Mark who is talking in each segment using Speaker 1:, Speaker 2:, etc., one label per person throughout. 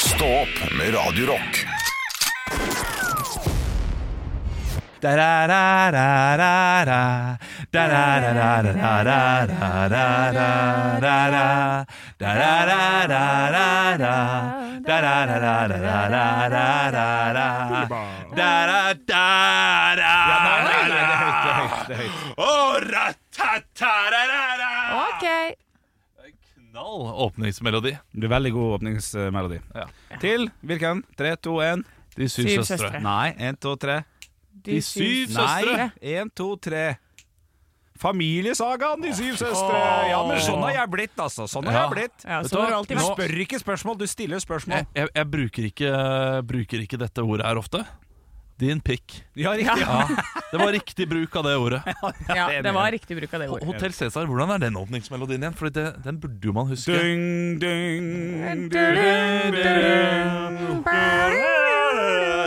Speaker 1: Stå opp med Radio Rock
Speaker 2: Da-ra-ra-ra-ra-ra. Da-ra-ra-ra-ra-ra-ra-ra-ra. Da-ra-ra-ra-ra-ra. Da-ra-ra-ra-ra-ra-ra-ra. Da-ra-da-ra. Å, ra-ta-ta-ra-ra-ra.
Speaker 3: Ok.
Speaker 2: Knall åpningsmelodi.
Speaker 4: Det blir veldig god åpningsmelodi.
Speaker 2: Ja.
Speaker 4: Til hvilken? Tre, to, én.
Speaker 2: De syv
Speaker 3: Syv
Speaker 2: søstre.
Speaker 3: søstre.
Speaker 4: Nei, én, to, tre.
Speaker 2: De syv
Speaker 4: Nei,
Speaker 2: søstre.
Speaker 4: én, to, tre. Familiesagaen De syv søstre! Ja, men sånn har jeg blitt, altså. Sånn har
Speaker 2: Ja. Eh,
Speaker 4: jeg blitt.
Speaker 3: Ja,
Speaker 2: Vet
Speaker 3: sånn har det
Speaker 2: du
Speaker 3: alltid
Speaker 4: Du
Speaker 2: hva?
Speaker 3: vært.
Speaker 4: spør ikke spørsmål, du stiller spørsmål.
Speaker 2: Jeg, jeg, jeg bruker, ikke, bruker ikke dette ordet her ofte. Din pikk.
Speaker 4: Ja, riktig.
Speaker 2: Ja, det var riktig bruk av det ordet.
Speaker 3: Ja, det var riktig bruk av det ordet.
Speaker 2: Hotell Cæsar, hvordan er den åpningsmelodien igjen? Fordi det, den burde jo man huske.
Speaker 4: Ding, ding,
Speaker 3: Du, du,
Speaker 4: ding, ding.
Speaker 3: du, du.
Speaker 2: Ja,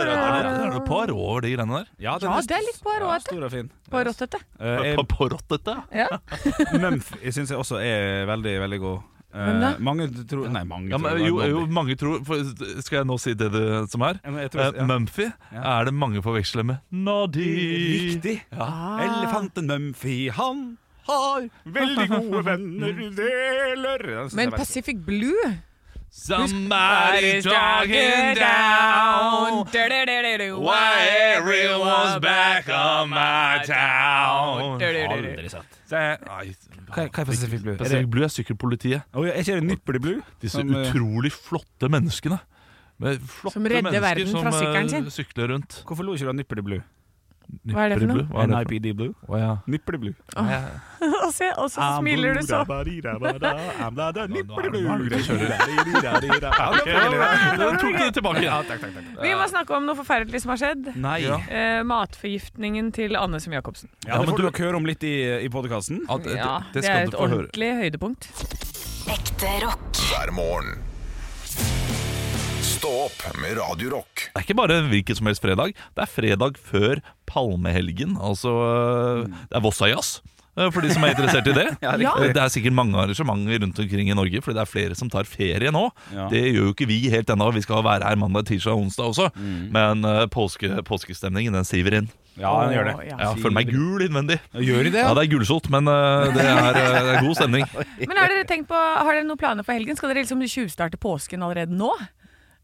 Speaker 2: det er- det er noe Poirot over de greiene der.
Speaker 4: Ja, den
Speaker 3: Ja, det er litt
Speaker 4: ja,
Speaker 3: Poirot.
Speaker 4: stor og fin.
Speaker 3: Poirotete.
Speaker 4: Eh,
Speaker 2: Pa- Poirotete?
Speaker 3: Ja.
Speaker 4: Mumph jeg syns jeg også er veldig, veldig god. Eh,
Speaker 3: Hvem da?
Speaker 4: mange tror Nei, mange
Speaker 2: Ja, men,
Speaker 4: tror
Speaker 2: jo, jo, mange tror for, Skal jeg nå si det, det som er?
Speaker 4: Ja, men jeg tror-
Speaker 2: Eh,
Speaker 4: ja.
Speaker 2: Mumphy
Speaker 4: Ja.
Speaker 2: er det mange forveksler med Noddy.
Speaker 4: Riktig. Ah. Elefanten Mumphy, han har veldig gode venner du deler. Den synes
Speaker 3: Men
Speaker 4: jeg er veldig-
Speaker 3: Pacific Blue
Speaker 2: Somebody talking down Why everyone's back on my town
Speaker 3: Aldri
Speaker 2: sett
Speaker 4: Så jeg- Hva hva er Pacific Blue? Er,
Speaker 2: Pacific
Speaker 4: det,
Speaker 2: Blue er sykkelpolitiet
Speaker 4: Å, ja, er ikke det Nipply Blue?
Speaker 2: Disse
Speaker 4: Som, eh,
Speaker 2: utrolig flotte menneskene Med flotte
Speaker 3: Som redder
Speaker 2: mennesker
Speaker 3: verden
Speaker 2: som,
Speaker 3: fra sykkelen
Speaker 2: eh,
Speaker 3: sin.
Speaker 2: Sykler rundt
Speaker 4: Hvorfor lo ikke du av Nipply Blue?
Speaker 3: Hva er det for noe?
Speaker 2: Blue, Hva er det for noe?
Speaker 4: NIPD Blue?
Speaker 2: Å, ja.
Speaker 4: Nipply Blue.
Speaker 3: Og se, og så smiler du sånn.
Speaker 2: Du tok det tilbake
Speaker 3: Vi må snakke om noe forferdelig som har skjedd.
Speaker 4: Nei.
Speaker 2: Ja.
Speaker 3: Eh, matforgiftningen til Anne Sem Jacobsen.
Speaker 4: Ja, det får du nok høre om litt i, i podkasten.
Speaker 2: Ja, det, det,
Speaker 3: Ja,
Speaker 2: det
Speaker 3: det
Speaker 2: skal
Speaker 3: er
Speaker 2: du
Speaker 3: et
Speaker 2: få høre
Speaker 3: ordentlig høydepunkt.
Speaker 5: Ekte rock.
Speaker 1: hver morgen. Stå opp med Radio Rock.
Speaker 2: Det er ikke bare hvilken som helst fredag. Det er fredag før palmehelgen. Altså, øh, det er Vossajazz. øh, For de som er interessert i det.
Speaker 3: riktig.
Speaker 2: Det er sikkert mange arrangementer rundt omkring i Norge, fordi det er flere som tar ferie nå.
Speaker 4: Ja.
Speaker 2: Det gjør jo ikke vi helt ennå. Vi skal være her mandag, tirsdag og onsdag også. Men øh, påske, påskestemningen, den siver inn.
Speaker 4: Ja, den gjør det.
Speaker 3: Å, ja.
Speaker 2: Jeg føler meg gul innvendig.
Speaker 4: Gjør de det?
Speaker 2: Ja, det er gulsott, men øh, det er, øh, det er god stemning.
Speaker 3: Men har dere tenkt på, har dere noen planer for helgen? Skal dere liksom tjuvstarte påsken allerede nå?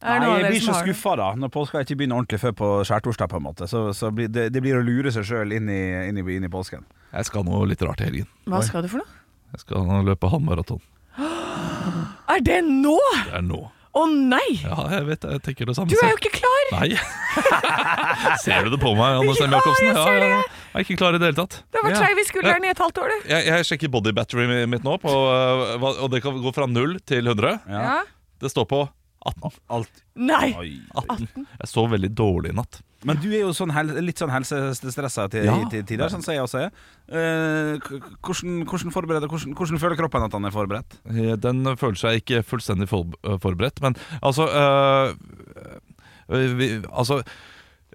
Speaker 3: Er det noen
Speaker 4: Nei,
Speaker 3: av
Speaker 4: jeg
Speaker 3: dere
Speaker 4: blir
Speaker 3: som
Speaker 4: så
Speaker 3: har-
Speaker 4: skuffa da, når påska ikke begynner ordentlig før på skjærtorsdag. på en måte Så, så blir det, det blir å lure seg sjøl inn, i- inn, i- inn i påsken.
Speaker 2: Jeg skal noe litt rart i helgen.
Speaker 3: Hva skal du for noe?
Speaker 2: Jeg skal løpe halvmaraton.
Speaker 3: Er det nå?
Speaker 2: Det er nå.
Speaker 3: Å nei!
Speaker 2: Ja, jeg vet, jeg tenker det samme.
Speaker 3: Du
Speaker 2: selv.
Speaker 3: er jo ikke klar!
Speaker 2: Nei. Ser du det på meg, Anne
Speaker 3: Ikke-
Speaker 2: Sem Jacobsen?
Speaker 3: Å, jeg ser det.
Speaker 2: Jeg er ikke klar i det hele tatt.
Speaker 3: Du har vært skeiv i skulderen i et halvt år, du.
Speaker 2: Jeg, jeg sjekker body battery mitt nå, på, øh, hva- og det kan gå fra 0 til 100.
Speaker 3: Ja.
Speaker 2: Det står på 18.
Speaker 4: Alt.
Speaker 3: Nei!
Speaker 4: Oi.
Speaker 2: 18. Jeg sov veldig dårlig i natt.
Speaker 4: Men du er jo sånn hel, litt sånn helsestressa til,
Speaker 2: Ja.
Speaker 4: til tider, sånn som jeg også er. Eh, k- hvordan, hvordan, forbereder, hvordan, hvordan føler kroppen at han er forberedt?
Speaker 2: Eh, Den føler seg ikke fullstendig for, øh, forberedt, men altså øh, øh, vi, Altså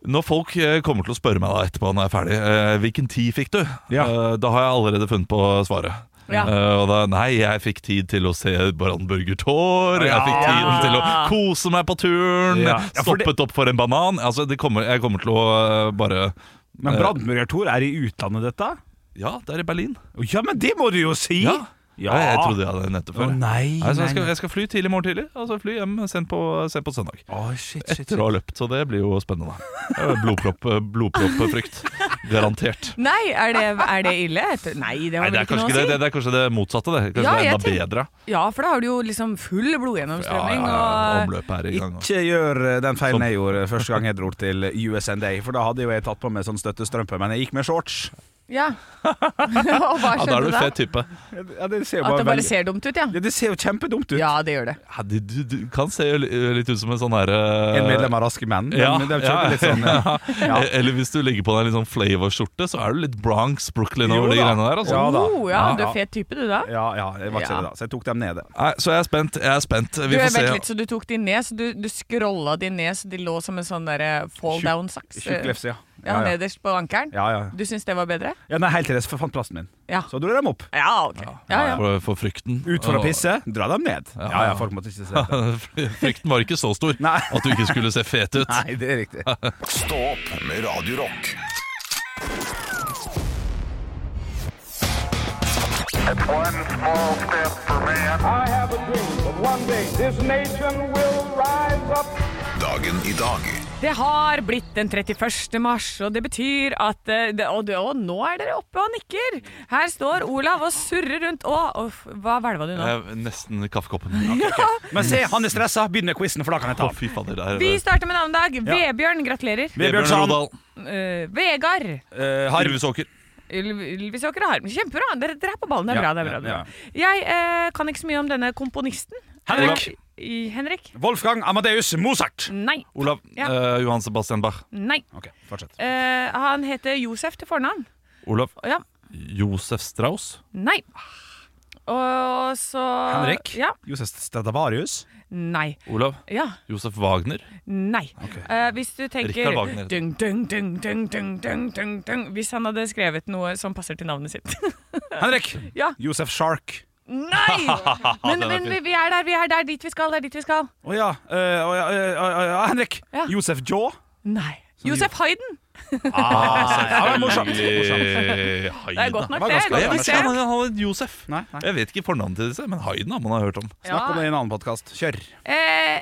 Speaker 2: når folk eh, kommer til å spørre meg da etterpå når jeg er ferdig eh, Hvilken tid fikk du?
Speaker 4: Ja.
Speaker 2: Eh, Da har jeg allerede funnet på svaret.
Speaker 3: Ja.
Speaker 2: Eh, og da, nei, jeg fikk tid til å se Brannburger Tår. Jeg fikk
Speaker 4: Ja.
Speaker 2: tiden til å kose meg på turen.
Speaker 4: Ja. Ja, for
Speaker 2: Stoppet opp for en banan. Altså, det kommer, jeg kommer til å eh, bare
Speaker 4: Men
Speaker 2: Eh.
Speaker 4: Brandmurger Tor er i utlandet, dette?
Speaker 2: Ja, det er i Berlin.
Speaker 4: Å, Ja, men det må du jo si!
Speaker 2: Ja.
Speaker 4: Ja.
Speaker 2: Jeg, jeg trodde jeg hadde nettopp
Speaker 4: Å,
Speaker 2: før. Nei,
Speaker 4: nei,
Speaker 2: så jeg,
Speaker 4: nei,
Speaker 2: skal,
Speaker 4: nei.
Speaker 2: jeg skal fly tidlig i morgen tidlig, og så fly hjem sent på, sent på søndag.
Speaker 4: Å, shit, shit,
Speaker 2: Etter å ha løpt, så det blir jo spennende. Det er jo Blodpropp, blodproppfrykt. Garantert.
Speaker 3: Nei, er det, er det ille? Etter- Nei, det
Speaker 2: Nei,
Speaker 3: har
Speaker 2: det
Speaker 3: vel
Speaker 2: er
Speaker 3: ikke noe
Speaker 2: kanskje
Speaker 3: å
Speaker 2: det,
Speaker 3: si.
Speaker 2: det, det er kanskje det motsatte. Det. Kanskje
Speaker 3: Ja,
Speaker 2: det er
Speaker 3: jeg
Speaker 2: enda bedre.
Speaker 3: Ja, for da har du jo liksom full blodgjennomstrømming. og-
Speaker 2: Omløpet er i gang.
Speaker 4: Ikke gjør eh, den feilen
Speaker 2: Som-
Speaker 4: sånn jeg gjorde første gang jeg dro til USND, for da hadde jo jeg tatt på meg sånn støttestrømpe, men jeg gikk med shorts.
Speaker 3: Ja. Og hva
Speaker 2: Ja, Da er
Speaker 3: skjedde
Speaker 2: du
Speaker 3: da?
Speaker 2: fet type.
Speaker 4: Ja, det ser jo
Speaker 3: At det bare
Speaker 4: veldig-
Speaker 3: ser dumt ut, ja.
Speaker 4: ja, det ser jo kjempedumt ut.
Speaker 3: Ja, det gjør det.
Speaker 2: Ja, du, du, du kan se jo li- litt ut som en sånn herre
Speaker 4: En medlem av Raske menn. men
Speaker 2: Ja,
Speaker 4: det er jo
Speaker 2: ja,
Speaker 4: kjøpt litt sånn, ja. Ja.
Speaker 2: e-, Eller hvis du legger på deg en litt sånn flavor-skjorte, så er du litt Bronx, Brooklyn over
Speaker 4: Jo
Speaker 2: de
Speaker 4: da.
Speaker 2: greiene der. Altså.
Speaker 4: Ja da.
Speaker 3: Oh, ja,
Speaker 4: Ja,
Speaker 3: du
Speaker 4: ja. Eh,
Speaker 3: er fet type, du da.
Speaker 4: ja, ja, jeg var ikke
Speaker 3: Ja.
Speaker 4: det da, så jeg tok dem nede.
Speaker 2: Nei, så jeg er spent. Jeg er spent.
Speaker 3: Du,
Speaker 2: Vi
Speaker 3: jeg
Speaker 2: får
Speaker 3: vet
Speaker 2: se.
Speaker 3: litt, så du tok de ned, så du, du scrolla de ned, så de lå som en sånn der fall
Speaker 4: Tjukk-
Speaker 3: down-saks.
Speaker 4: Tjukk lefse, ja.
Speaker 3: Ja,
Speaker 4: ja.
Speaker 3: nederst på ankelen.
Speaker 4: ja, ja.
Speaker 3: Du syns det var bedre?
Speaker 4: ja nei, helt til jeg fant plassen min.
Speaker 3: Ja.
Speaker 4: Så dro jeg dem opp.
Speaker 3: Ja, ok. Ja, ja.
Speaker 2: For, for frykten.
Speaker 4: Ut for å
Speaker 2: Og-
Speaker 4: pisse, dra dem ned. Ja, ja, folk måtte ikke se det.
Speaker 2: Frykten var ikke så stor
Speaker 4: Nei.
Speaker 2: at du ikke skulle se fet ut.
Speaker 4: Nei, det er riktig.
Speaker 1: Stå opp med Radio Rock.
Speaker 6: One small step for man. I have a dream that one day this nation will rise up.
Speaker 1: Dagen i dag.
Speaker 3: Det har blitt den 31. mars, og det betyr at eh, det, og, det, og nå er dere oppe og nikker! Her står Olav og surrer rundt og Uff, Hva hvelva du nå?
Speaker 2: Eh, Nesten kaffekoppen.
Speaker 4: Men se, han er stressa. Begynn med quizen, for da kan jeg ta
Speaker 2: Å,
Speaker 4: den.
Speaker 2: fy fader. Det er
Speaker 3: Vi starter med navnedag. Vebjørn, gratulerer.
Speaker 4: Vebjørn Sand.
Speaker 2: Rodal.
Speaker 3: Eh, Vegard.
Speaker 4: Eh, Harv.
Speaker 2: Harvesåker.
Speaker 3: Ylv- Ylvisåker og Harm. Kjempebra! Dere, dere er på ballen. Det
Speaker 4: Ja,
Speaker 3: er bra. det er bra,
Speaker 4: ja,
Speaker 3: det er bra. Jeg eh, kan ikke så mye om denne komponisten.
Speaker 4: Henrik.
Speaker 3: Eh, i- Henrik?
Speaker 4: Wolfgang Amadeus Mozart.
Speaker 3: Nei.
Speaker 2: Olav.
Speaker 3: Ja.
Speaker 2: eh, Johan Sebastian Bach.
Speaker 3: Nei.
Speaker 4: Ok, fortsett.
Speaker 3: Eh, han heter Josef til fornavn.
Speaker 2: Olav.
Speaker 3: Ja.
Speaker 2: Josef Strauss.
Speaker 3: Nei. Og så
Speaker 4: Henrik.
Speaker 3: Ja.
Speaker 4: Josef Stradivarius.
Speaker 3: Nei.
Speaker 2: Olav.
Speaker 3: Ja.
Speaker 2: Josef Wagner.
Speaker 3: Nei. Eh, hvis du tenker
Speaker 2: Richard Wagner.
Speaker 3: dung, dung, dung, dung, dung, dung, dung, dung, Hvis han hadde skrevet noe som passer til navnet sitt.
Speaker 4: Henrik.
Speaker 3: Eh, Ja.
Speaker 4: Josef Shark.
Speaker 3: Nei! Men,
Speaker 2: Den er
Speaker 3: men
Speaker 2: fin.
Speaker 3: vi, vi er der, vi er der. Dit vi skal, det er dit vi skal.
Speaker 4: Å ja. eh, å ja, eh, å ja, ja, Henrik.
Speaker 3: Ja.
Speaker 4: Josef Jaw.
Speaker 3: Nei. Josef Hayden.
Speaker 4: Ah, Ja, det er morsomt.
Speaker 2: Eh, Haydn.
Speaker 3: Det er godt nok,
Speaker 4: var
Speaker 3: det.
Speaker 4: ganske-
Speaker 2: Jeg
Speaker 3: Godt nok,
Speaker 2: vet
Speaker 3: det.
Speaker 2: ikke, han han het Josef.
Speaker 4: Nei, nei.
Speaker 2: Jeg vet ikke fornavnet til disse, men Haydn har man har hørt om.
Speaker 4: Snakk om det i en annen podkast. Kjør.
Speaker 3: Eh,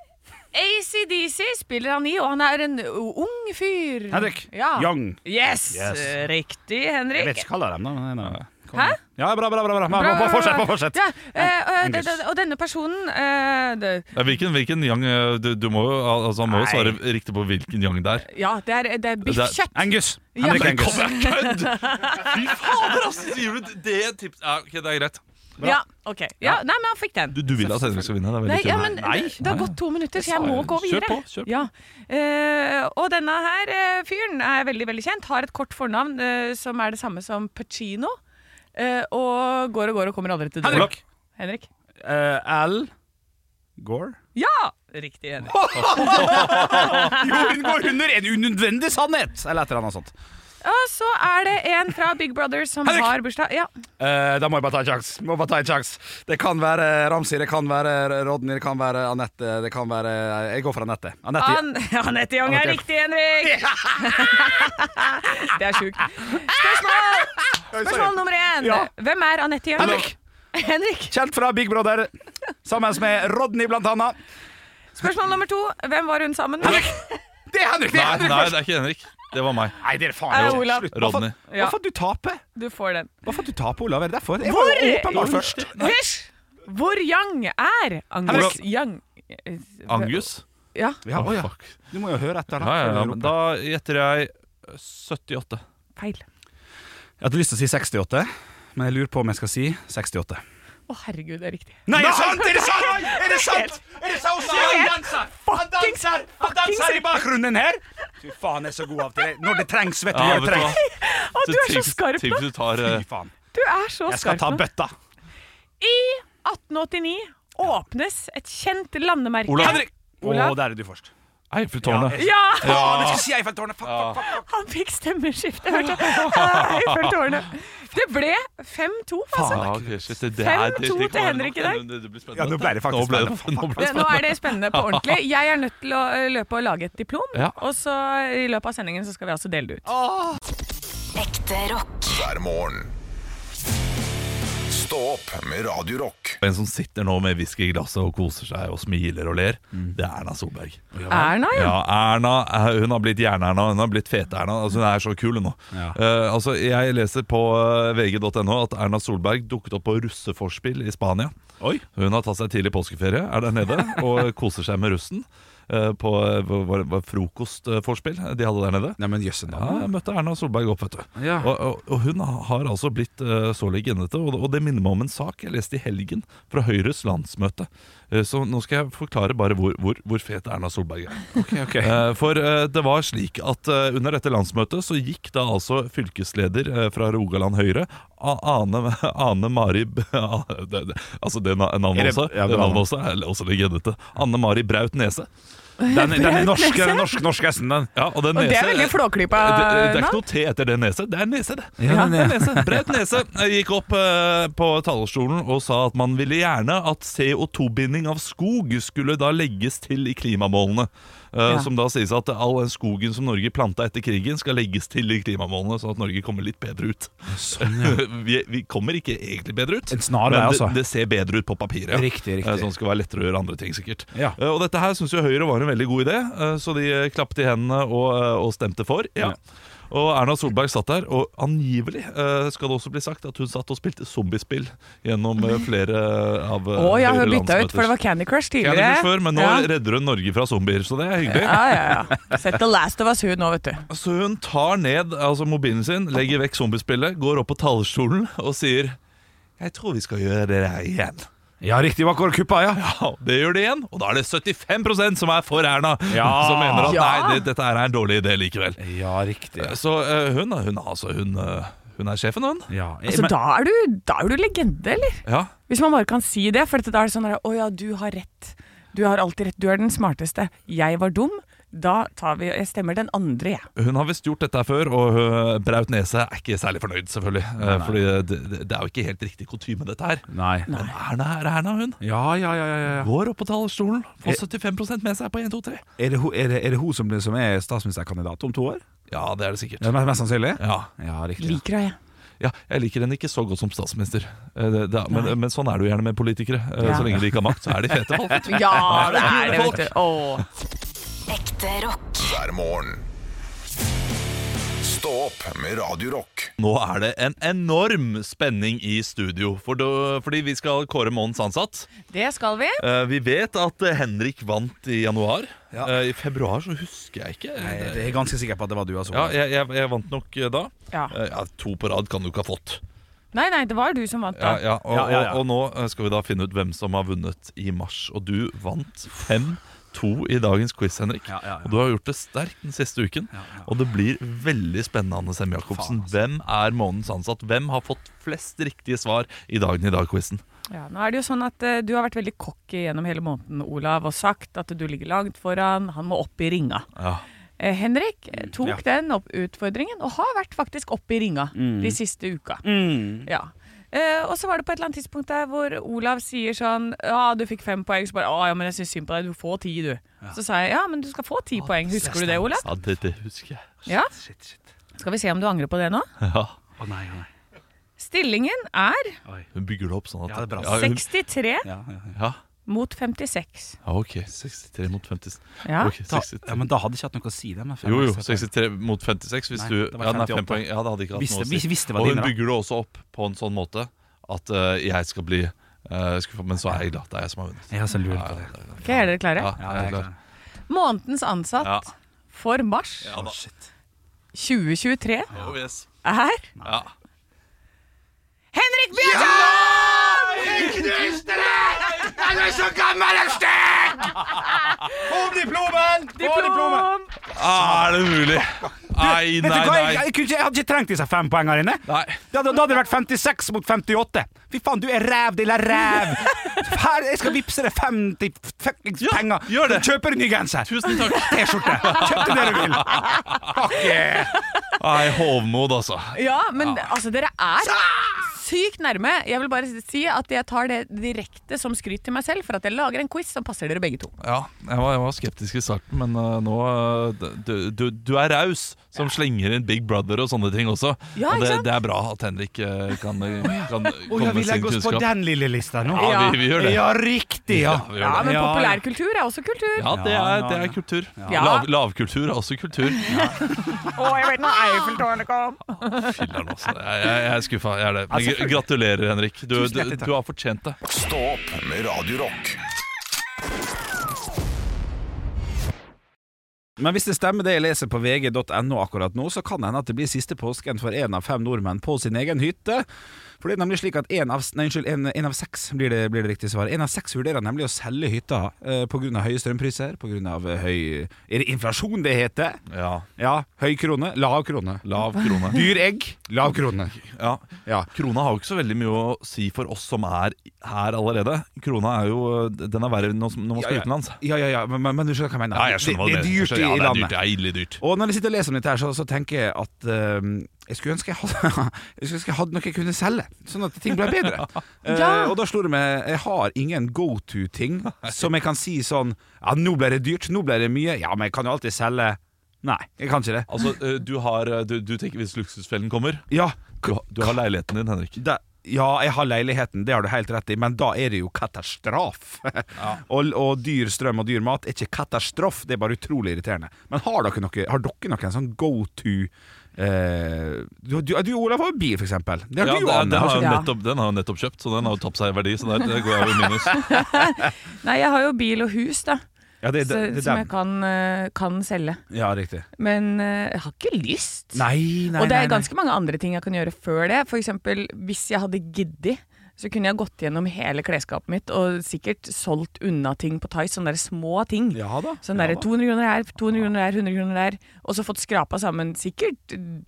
Speaker 3: ACDC spiller han i, og han er en ung fyr.
Speaker 4: Henrik.
Speaker 3: Ja.
Speaker 4: Young.
Speaker 3: Yes,
Speaker 4: Yes.
Speaker 3: eh, riktig,
Speaker 4: Jeg vet
Speaker 3: Henrik.
Speaker 4: ikke hva kaller dem, da. men jeg-
Speaker 3: Hæ?
Speaker 4: eh, Ja, bra, bra, bra. bra.
Speaker 3: Bra, bra, bra.
Speaker 4: Fortsett, bare fortsett.
Speaker 3: Ja, eh, eh,
Speaker 4: English.
Speaker 3: det- det- og denne personen eh, det,
Speaker 2: Ja, Hvilken, hvilken yang eh, du, du må jo, al- altså, Han må jo
Speaker 4: Nei.
Speaker 2: svare riktig på hvilken yang det er.
Speaker 3: Ja, det er, det er biffkjøtt.
Speaker 4: Angus.
Speaker 3: Ja,
Speaker 4: Henrik
Speaker 3: men
Speaker 4: Angus.
Speaker 2: kødd! Fy fader, altså! Sier du det tips... Ja, ok, det er greit.
Speaker 3: Ja, ok. Ja, nei, men han fikk den.
Speaker 2: Du, du vil at Henrik skal vinne? Det er veldig
Speaker 3: Nei, ja,
Speaker 2: tydelig.
Speaker 3: men det det har gått to minutter, så jeg må
Speaker 2: Kjør
Speaker 3: gå videre.
Speaker 2: på, kjør på.
Speaker 3: Ja. Eh, og denne her eh, fyren er veldig veldig kjent. Har et kort fornavn eh, som er det samme som Pacino. eh, og går og går og kommer aldri til døren.
Speaker 4: Henrik.
Speaker 3: Henrik.
Speaker 4: Eh, Al Gore.
Speaker 3: Ja! Riktig, Henrik.
Speaker 4: Jo, hun går under en unødvendig sannhet! Eller et eller annet sånt.
Speaker 3: Og så er det en fra Big Brother som
Speaker 4: Henrik!
Speaker 3: har bursdag. Ja.
Speaker 4: Eh, da må jeg bare ta en sjanse. Må bare ta en sjans. Det kan være Ramsi, det kan være Rodney, det kan være Anette. Det kan være Jeg går for Anette. Anette
Speaker 3: An Anette Young
Speaker 4: Anette
Speaker 3: er
Speaker 4: Young.
Speaker 3: riktig, Henrik! det er sjukt. Spørsmål, Spørsmål nummer én.
Speaker 4: Ja.
Speaker 3: Hvem er Anette Young?
Speaker 4: Henrik!
Speaker 3: Henrik.
Speaker 4: Kjent fra Big Brother. Sammen med Rodney, blant annet.
Speaker 3: Spørsmål nummer to. Hvem var hun sammen med?
Speaker 4: Henrik! Det er Henrik! Det er
Speaker 2: Nei,
Speaker 4: Henrik
Speaker 2: nei,
Speaker 4: først.
Speaker 2: det er ikke Henrik. Det var meg.
Speaker 4: Nei, det er faen
Speaker 3: Er
Speaker 4: ikke.
Speaker 3: Olav.
Speaker 4: Slutt.
Speaker 2: Rodney.
Speaker 4: Hvorfor, hvorfor du taper?
Speaker 3: Du får den.
Speaker 4: Hvorfor du taper, Olav? Er det derfor? Jeg var jo
Speaker 3: Hvor-
Speaker 4: åpenbart først.
Speaker 3: Hysj! Hvor young er Angus
Speaker 2: Henrik.
Speaker 3: Young?
Speaker 2: Angus?
Speaker 3: Ja.
Speaker 4: Ja,
Speaker 2: Å,
Speaker 4: å ja.
Speaker 2: fuck.
Speaker 4: Du må jo høre etter.
Speaker 2: Ja, ja, ja, men da gjetter jeg 78.
Speaker 3: Feil.
Speaker 4: Jeg hadde lyst til å si 68, men jeg lurer på om jeg skal si 68.
Speaker 3: Å, herregud, det er riktig.
Speaker 4: Nei, er det sant?! Er det sant?! Er det sant?! Er det sant? Se, han danser! Han danser Han danser i bakgrunnen her! Fy faen, jeg er så god av til det. Når det trengs, vet du.
Speaker 2: Ja,
Speaker 4: Når det
Speaker 2: vet du hva?
Speaker 4: trengs.
Speaker 3: Å, du er så skarp
Speaker 2: Tenk
Speaker 3: nå!
Speaker 2: hvis du tar
Speaker 4: Fy
Speaker 2: eh,
Speaker 4: faen.
Speaker 3: Du er så
Speaker 4: Jeg skal
Speaker 3: skarp
Speaker 4: ta
Speaker 3: nå.
Speaker 4: bøtta.
Speaker 3: I 1889 åpnes et kjent landemerke.
Speaker 2: Olav.
Speaker 4: Henrik! Å,
Speaker 3: Olav.
Speaker 4: der er du først.
Speaker 2: Eiffeltårnet.
Speaker 3: Ja!
Speaker 4: Faen, jeg skal si Eiffeltårnet! Fuck, fuck, fuck.
Speaker 3: Han fikk stemmeskifte, hørte jeg. Eh, Eiffeltårnet. Det ble 5-2, altså.
Speaker 2: Ja, ok, shit, det- det er- det-
Speaker 3: 5-2
Speaker 2: det
Speaker 3: til
Speaker 2: kommer
Speaker 3: Henrik i
Speaker 2: nok-
Speaker 3: dag.
Speaker 2: Det, det blir
Speaker 4: Ja,
Speaker 2: spennende.
Speaker 4: nå ble det
Speaker 2: Nå
Speaker 4: faktisk
Speaker 2: ble det,
Speaker 4: spennende.
Speaker 2: nå ble det
Speaker 3: Det, nå er det spennende på ordentlig. Jeg er nødt til å eh, løpe og lage et diplom,
Speaker 2: Ja.
Speaker 3: og så i løpet av sendingen så skal vi altså dele det ut.
Speaker 5: Ekte rock.
Speaker 1: Hver morgen. Stå opp med Radio Rock.
Speaker 2: En som sitter nå med whisky i glasset og koser seg og smiler og ler, det er Erna Solberg.
Speaker 3: Erna, ja.
Speaker 2: Ja, Erna eh, hun har blitt Jern-Erna, hun har blitt Fete-Erna. Altså, hun er så kul hun nå.
Speaker 4: Ja.
Speaker 2: Eh, altså, jeg leser på eh, vg.no at Erna Solberg dukket opp på russeforspill i Spania.
Speaker 4: Oi.
Speaker 2: Hun har tatt seg tidlig påskeferie, er der nede, og koser seg med russen. eh, på eh, hva- hva- hva- frokostforspill eh, de hadde der nede.
Speaker 4: Nei, men jøsse
Speaker 2: Ja,
Speaker 4: navn.
Speaker 2: jeg møtte Erna Solberg opp, vet du.
Speaker 4: Ja.
Speaker 2: Og, og, og hun har altså blitt eh, så legendete, og, og det minner meg om en sak jeg leste i helgen fra Høyres landsmøte. Eh, så nå skal jeg forklare bare hvor, hvor, hvor fet Erna Solberg er. Eh, for eh, det var slik at eh, under dette landsmøtet så gikk da altså fylkesleder eh, fra Rogaland Høyre, A- Ane, Ane Mari B- det, det, Altså det na-
Speaker 4: Er
Speaker 2: navnet
Speaker 4: det-
Speaker 2: også,
Speaker 4: ja, det
Speaker 2: det
Speaker 4: navnet.
Speaker 2: navnet også er også legendete. Anne Mari Braut Nese.
Speaker 4: Den, den er norsk, den er norsk, norsk hesten, den.
Speaker 2: Ja, og den
Speaker 3: Og det er
Speaker 2: nese-
Speaker 3: veldig flåklypa
Speaker 2: Eh, det, det, det er
Speaker 3: navn.
Speaker 2: ikke noe T etter det nese. Det er nese, det.
Speaker 4: Ja,
Speaker 2: det er
Speaker 4: ja.
Speaker 2: nese. Braut Nese gikk opp eh, på talerstolen og sa at man ville gjerne at CO2-binding av skog skulle da legges til i klimamålene. Eh,
Speaker 3: Ja.
Speaker 2: Som da sies at all den skogen som Norge planta etter krigen, skal legges til i klimamålene, sånn at Norge kommer litt bedre ut. vi, vi kommer ikke egentlig bedre ut,
Speaker 4: Sånn, En snar
Speaker 2: men
Speaker 4: vei,
Speaker 2: det,
Speaker 4: altså.
Speaker 2: det ser bedre ut på papiret.
Speaker 4: Riktig, riktig.
Speaker 2: Eh, Sånn skal være lettere å gjøre andre ting, sikkert.
Speaker 4: Ja.
Speaker 2: Eh, Og dette her syns jo Høyre var en veldig god idé, eh, så de eh, klappet i hendene og, eh, og stemte for. Ja. Og Erna Solberg satt der, og angivelig eh, skal det også bli sagt at hun satt og spilte zombiespill gjennom eh, flere av eh,
Speaker 3: Å ja, hun bytta ut, for det var Candy Crush tidligere.
Speaker 2: før, men nå
Speaker 3: ja.
Speaker 2: redder hun Norge fra zombier, så det er hyggelig.
Speaker 3: ja, ja, ja. Sett The Last of Us hun nå, vet du.
Speaker 2: Så hun tar ned altså mobilen sin, legger vekk zombiespillet, går opp på talerstolen og sier Jeg tror vi skal gjøre det der igjen.
Speaker 4: Ja, riktig, hva går kuppa, ja.
Speaker 2: Ja, det gjør det igjen, og da er det 75 som er for Erna,
Speaker 4: Ja.
Speaker 2: som mener at
Speaker 3: Ja.
Speaker 2: nei, det, dette her er en dårlig idé likevel.
Speaker 4: Ja, riktig.
Speaker 2: Så eh, hun, hun, altså, hun, eh, hun er sjefen, hun.
Speaker 4: Ja.
Speaker 3: Altså,
Speaker 4: men,
Speaker 3: da, er du, da er du legende, eller?
Speaker 2: Ja.
Speaker 3: Hvis man bare kan si det. For at da er det sånn at, Å ja, du har rett. Du har alltid rett. Du er den smarteste. Jeg var dum. Da tar vi Jeg stemmer den andre, jeg.
Speaker 2: Hun har visst gjort dette her før, og eh, Braut Nese er ikke særlig fornøyd, selvfølgelig. Eh, Fordi det, det- det er jo ikke helt riktig kutyme, dette her.
Speaker 4: nei.
Speaker 2: Men Erna er Erna, hun.
Speaker 4: Ja, ja, ja, ja, ja.
Speaker 2: Går opp på talerstolen, får
Speaker 4: Eh.
Speaker 2: 75 med seg på 1, 2, 3.
Speaker 4: Er det, ho- er det, er det hun som, blir- som er statsministerkandidat om to år?
Speaker 2: Ja, det er det sikkert.
Speaker 4: Ja, mest, mest sannsynlig?
Speaker 2: Ja.
Speaker 4: Ja, riktig.
Speaker 3: Liker henne, jeg.
Speaker 2: Ja, jeg liker henne ikke så godt som statsminister. Eh, Det, det, men, men sånn er det jo gjerne med politikere. Eh,
Speaker 3: Ja.
Speaker 2: Så lenge de ikke har makt, så er de fete folk.
Speaker 3: Ja, det er det, vet du. Åh.
Speaker 5: Ekte rock.
Speaker 1: hver morgen. Stå opp med Radio Rock.
Speaker 2: Nå er det en enorm spenning i studio, for da- fordi vi skal kåre månedens ansatt.
Speaker 3: Det skal vi.
Speaker 2: Eh, Vi vet at eh, Henrik vant i januar. Eh, I februar så husker jeg ikke.
Speaker 4: Nei, det er jeg ganske sikker på at det var du, altså.
Speaker 2: Ja, jeg, jeg, jeg vant nok eh, da.
Speaker 3: Ja.
Speaker 2: Eh, Ja, to på rad kan du ikke ha fått.
Speaker 3: Nei, nei, det var du som vant,
Speaker 2: Ja,
Speaker 3: da.
Speaker 2: ja. Og,
Speaker 4: Ja, ja, ja.
Speaker 2: Og, og nå eh, skal vi da finne ut hvem som har vunnet i mars. Og du vant 5-2 i dagens quiz, Henrik.
Speaker 4: Ja, ja, ja.
Speaker 2: Og du har gjort det sterkt den siste uken. Og det blir veldig spennende, Sem Jacobsen.
Speaker 4: altså.
Speaker 2: Hvem er månedens ansatt? Hvem har fått flest riktige svar i Dagen i dag-quizen?
Speaker 3: Ja, nå er det jo sånn at eh, Du har vært veldig cocky gjennom hele måneden, Olav, og sagt at du ligger langt foran. Han må opp i ringa.
Speaker 2: Ja.
Speaker 3: Eh, Henrik eh, tok
Speaker 4: Ja.
Speaker 3: den opp utfordringen, og har vært faktisk opp i ringa de siste uka. Ja. Eh, og så var det på et eller annet tidspunkt der hvor Olav sier sånn Ja, du fikk fem poeng. Så bare Å ja, men jeg syns synd på deg. Du får ti, du. Så sa jeg ja, men du skal få ti poeng. Husker du det, Olav?
Speaker 2: Ja, det, det husker jeg.
Speaker 3: Ja.
Speaker 4: Shit, shit.
Speaker 3: Skal vi se om du angrer på det nå?
Speaker 2: Ja.
Speaker 4: Å nei, å nei.
Speaker 3: Stillingen er
Speaker 2: Hun bygger det opp sånn at
Speaker 4: Ja, det er bra.
Speaker 2: hun,
Speaker 3: 63
Speaker 4: Ja, ja, ja.
Speaker 2: ja.
Speaker 3: mot 56.
Speaker 2: ja, ok. 63 mot 50
Speaker 3: Ja.
Speaker 2: Ok,
Speaker 4: Da,
Speaker 2: 63.
Speaker 4: ja, men da hadde jeg ikke hatt noe å si det. men-
Speaker 2: Jo, jo. 63 mot 56 hvis
Speaker 4: Nei,
Speaker 2: du
Speaker 4: det var
Speaker 2: ja, nei,
Speaker 4: 58.
Speaker 2: fem poeng. Ja, det hadde ikke hatt
Speaker 4: Visste-
Speaker 2: noe å si.
Speaker 4: vis- visste hva
Speaker 2: og
Speaker 4: dine
Speaker 2: hun
Speaker 4: var.
Speaker 2: bygger det også opp på en sånn måte at eh, jeg skal bli eh, skuffa, men så er jeg glad. Det er jeg som har vunnet.
Speaker 4: Jeg har så lurt på det.
Speaker 3: Ok, Er dere klare?
Speaker 2: Ja, jeg er
Speaker 4: jeg er
Speaker 2: klar.
Speaker 4: klar.
Speaker 3: Månedens ansatt
Speaker 2: Ja.
Speaker 3: for mars
Speaker 2: Ja,
Speaker 4: Oh,
Speaker 2: da.
Speaker 3: 2023
Speaker 2: Oh, yes.
Speaker 3: er
Speaker 2: ja.
Speaker 3: Henrik Bjørnson!
Speaker 4: Få diplomen! Få diplomen!
Speaker 3: Diplom!
Speaker 2: Ah, er det mulig? Nei,
Speaker 4: Vet
Speaker 2: nei,
Speaker 4: du hva, jeg,
Speaker 2: nei.
Speaker 4: jeg, kunne ikke- jeg hadde ikke trengt disse fem poengene dine.
Speaker 2: Nei.
Speaker 4: Da, da, da hadde det vært 56 mot 58. Fy faen, du er ræv lille ræv! Her, jeg skal vippse deg 50 fuckings
Speaker 2: Ja,
Speaker 4: penger.
Speaker 2: gjør det.
Speaker 4: Du Kjøper en ny genser.
Speaker 2: Tusen takk.
Speaker 4: T-skjorte. Kjøp deg det du vil. Fuck yeah.
Speaker 2: Nei, hovmod, altså.
Speaker 3: Ja, men altså, dere er sykt nærme. Jeg vil bare si at jeg tar det direkte som skryt til meg selv for at jeg lager en quiz som passer dere begge to.
Speaker 2: Ja, jeg var, jeg var skeptisk i starten, men eh, nå eh, du, du, du er raus som slenger inn Big Brother og sånne ting også.
Speaker 3: Ja,
Speaker 2: og
Speaker 3: ikke
Speaker 2: det,
Speaker 3: sant?
Speaker 2: det er bra at Henrik eh, kan, kan
Speaker 4: Å
Speaker 2: komme
Speaker 4: ja, vi
Speaker 2: med sin
Speaker 4: legger oss på
Speaker 2: kunnskap.
Speaker 4: den lille lista nå.
Speaker 2: Ja, vi, vi gjør det.
Speaker 4: Ja, riktig,
Speaker 2: Ja,
Speaker 4: ja.
Speaker 2: vi gjør
Speaker 3: Ja,
Speaker 4: Ja,
Speaker 3: men
Speaker 4: ja.
Speaker 3: populærkultur er også kultur.
Speaker 2: Ja, det
Speaker 4: Ja,
Speaker 2: er,
Speaker 4: ja,
Speaker 2: det
Speaker 4: ja.
Speaker 2: er kultur.
Speaker 3: Ja.
Speaker 2: Lav, lavkultur er også kultur.
Speaker 3: Å, jeg vet når Eiffeltårnet kom!
Speaker 2: Filler'n også. altså. Jeg, jeg, jeg er skuffa. Jeg er det. Men gr- gratulerer, Henrik. Du,
Speaker 4: Tusen
Speaker 2: du,
Speaker 4: hjertelig takk.
Speaker 2: du har fortjent det.
Speaker 1: Stå opp med Radio Rock.
Speaker 4: Men hvis det stemmer det jeg leser på vg.no akkurat nå, så kan det hende at det blir siste påsken for én av fem nordmenn på sin egen hytte. For det er nemlig slik at én av, nei, unnskyld, en, en av seks blir det, blir det riktige svaret. En av seks vurderer nemlig å selge hytta eh, pga. høye strømpriser, pga. eh, høy Er det inflasjon det heter?
Speaker 2: Ja,
Speaker 4: Ja. Høy krone, lav krone.
Speaker 2: lav krone.
Speaker 4: Dyr egg, lav krone.
Speaker 2: Ja.
Speaker 4: Ja.
Speaker 2: Krona har jo ikke så veldig mye å si for oss som er her allerede. Krona er jo Den er verre enn når når man skal
Speaker 4: Ja, ja.
Speaker 2: utenlands.
Speaker 4: Ja, ja, ja, men, men, men du skjønner hva jeg mener. det, det er dyrt i
Speaker 2: Ja, det er dyrt,
Speaker 4: landet.
Speaker 2: det er ille dyrt.
Speaker 4: Og når jeg sitter og leser om dette her, så, så tenker jeg at eh, jeg skulle ønske jeg hadde, jeg skulle ønske jeg hadde noe jeg kunne selge, sånn at ting ble bedre. Eh,
Speaker 3: Ja.
Speaker 4: og da slo det meg jeg har ingen go to-ting som jeg kan si sånn Ja, nå ble det dyrt, nå ble det mye. Ja, men jeg kan jo alltid selge Nei, jeg kan ikke det.
Speaker 2: Altså, eh, du har eh, Du, du tenker hvis luksusfellen kommer
Speaker 4: Ja,
Speaker 2: du, har- du har leiligheten din, Henrik.
Speaker 4: det, ja, jeg har leiligheten, det har du helt rett i, men da er det jo katastrof. og, og dyr strøm og dyr mat er ikke katastrof, det er bare utrolig irriterende. Men har dere noe, har dere noen sånn go to eh, du, du, du, Olav, har jo bil, for eksempel. Det har
Speaker 2: Ja,
Speaker 4: du,
Speaker 2: den,
Speaker 4: Anne.
Speaker 2: den, har
Speaker 4: Har
Speaker 2: jo
Speaker 4: ikke-
Speaker 3: Ja.
Speaker 2: nettopp, den har jo nettopp kjøpt, så den har jo tapt seg i verdi. Så der, der går jeg jo i minus.
Speaker 3: Nei, jeg har jo bil og hus, da.
Speaker 4: ja, det,
Speaker 3: Så,
Speaker 4: det, det,
Speaker 3: som
Speaker 4: det,
Speaker 3: jeg kan, eh, kan selge.
Speaker 4: ja, riktig.
Speaker 3: Men eh, jeg har ikke lyst.
Speaker 4: Nei, nei,
Speaker 3: og det
Speaker 4: nei,
Speaker 3: er
Speaker 4: nei.
Speaker 3: ganske mange andre ting jeg kan gjøre før det. For eksempel, hvis jeg hadde giddet, så kunne jeg gått gjennom hele klesskapet mitt og sikkert solgt unna ting på Tice, sånne der små ting.
Speaker 4: Ja da.
Speaker 3: Sånn der 200 kroner her, 200 kroner her, 100 kroner her, og så fått skrapa sammen sikkert 10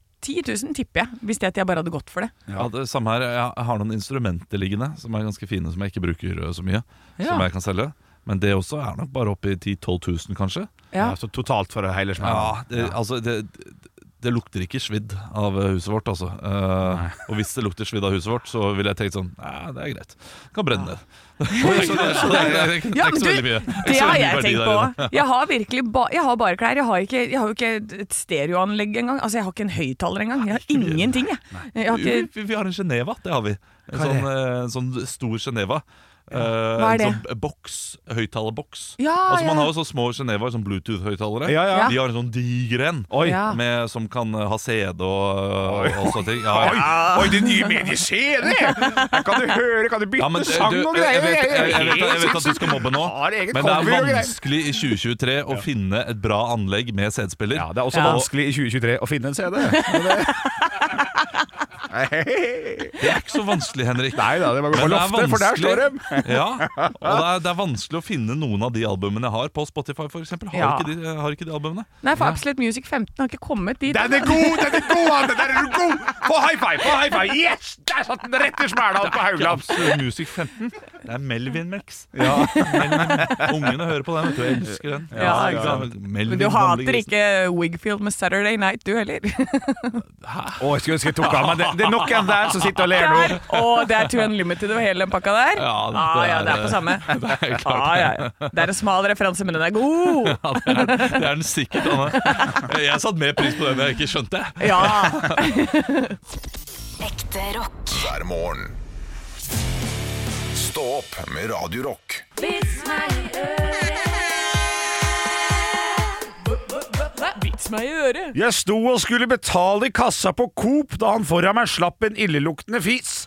Speaker 3: 000, tipper jeg, hvis det at jeg bare hadde gått for det.
Speaker 2: Ja, det samme her, Jeg har noen instrumenter liggende som er ganske fine, som jeg ikke bruker eh, så mye. Som jeg kan selge. Men det også er nok bare oppe i 10 000-12 000, kanskje.
Speaker 3: Ja.
Speaker 4: Ja, så totalt for
Speaker 2: Ja,
Speaker 4: hele smellen.
Speaker 2: det, altså det, det, det lukter ikke svidd av eh, huset vårt, altså. Eh, og hvis det lukter svidd av huset vårt, så ville jeg tenkt sånn Nei, det er greit. Det kan brenne ned. Så det så det er det er ikke det
Speaker 3: Ja,
Speaker 2: er
Speaker 3: men
Speaker 2: ikke så
Speaker 3: du,
Speaker 2: veldig mye. er ikke
Speaker 3: Det
Speaker 2: så veldig
Speaker 3: har
Speaker 2: mye
Speaker 3: jeg
Speaker 2: verdi
Speaker 3: tenkt
Speaker 2: der
Speaker 3: på
Speaker 2: inne.
Speaker 3: òg. Jeg har virkelig ba, jeg har bare klær. Jeg har, ikke, jeg har jo ikke et stereoanlegg engang. Altså, jeg har ikke en høyttaler engang. Jeg har ingenting, jeg. jeg har
Speaker 2: Vi,
Speaker 3: ikke,
Speaker 2: vi, vi har en Geneva, det har vi. En
Speaker 4: Hva er det?
Speaker 2: sånn, eh, en sånn stor Geneva. Eh,
Speaker 3: Hva er
Speaker 2: en sånn boks, høyttalerboks.
Speaker 3: Ja,
Speaker 2: altså, man
Speaker 3: ja.
Speaker 2: har jo så små Genevaer, sånn Bluetooth-høyttalere.
Speaker 4: Ja, ja.
Speaker 3: Ja.
Speaker 2: De har en sånn diger en
Speaker 4: Oi.
Speaker 3: Ja.
Speaker 2: med- som kan eh, ha CD og, og, og sånne ting. Ja,
Speaker 4: Oi,
Speaker 2: ja.
Speaker 4: oi, det nye mediet skjer, det! Her kan du høre, kan du bytte
Speaker 2: Ja, men, eh,
Speaker 4: sang
Speaker 2: du,
Speaker 4: og
Speaker 2: jeg,
Speaker 4: greier.
Speaker 2: jeg, vet, jeg, jeg, vet, jeg vet at
Speaker 4: Helt
Speaker 2: du skal mobbe nå,
Speaker 4: Har eget
Speaker 2: men det er
Speaker 4: cover og greier.
Speaker 2: vanskelig i 2023 å finne et bra anlegg med CD-spiller.
Speaker 4: Ja, Det er også
Speaker 3: Ja.
Speaker 4: vanskelig i 2023 å finne en CD. Men det-
Speaker 2: Det er ikke så vanskelig, Henrik.
Speaker 4: Nei da, det var på
Speaker 2: Men det er
Speaker 4: loftet, for der står de.
Speaker 2: vanskelig- ja, og det er, det er vanskelig å finne noen av de albumene jeg har på Spotify, f.eks. Har,
Speaker 3: Ja.
Speaker 2: ikke de- eh, har ikke de albumene?
Speaker 3: nei, for Absolute Music 15 har ikke kommet dit.
Speaker 4: Den er god, den er god, Anne! Der er du god! Få high five! få high five Yes! Der satt den rett i smæla på Haugland.
Speaker 2: Absolutt eh, Music 15. Det er Melvin Max. Ungene hører på den, vet du. Jeg elsker den.
Speaker 3: Ja, ikke sant. Men du hater ikke Wigfield med Saturday Night, du heller?
Speaker 4: Å, jeg skulle ønske jeg tok av meg det. Det er noen der som sitter og ler nå.
Speaker 3: Der, og det er Two Unlimited og hele den pakka der?
Speaker 2: Ja, det
Speaker 3: ah, ja,
Speaker 2: er-
Speaker 3: det er på samme.
Speaker 2: Det er, klart.
Speaker 3: Ah, ja, ja. Det er en smal referanse, men den er god!
Speaker 2: Ja, det, er, det er den sikkert, Anne. Eh, Jeg satte mer pris på den jeg ikke skjønte.
Speaker 3: Ja.
Speaker 5: Ekte rock.
Speaker 1: hver morgen. Stå opp med Radio Rock.
Speaker 3: Vits meg i øret.
Speaker 4: Jeg sto og skulle betale i kassa på Coop da han foran meg slapp en illeluktende fis.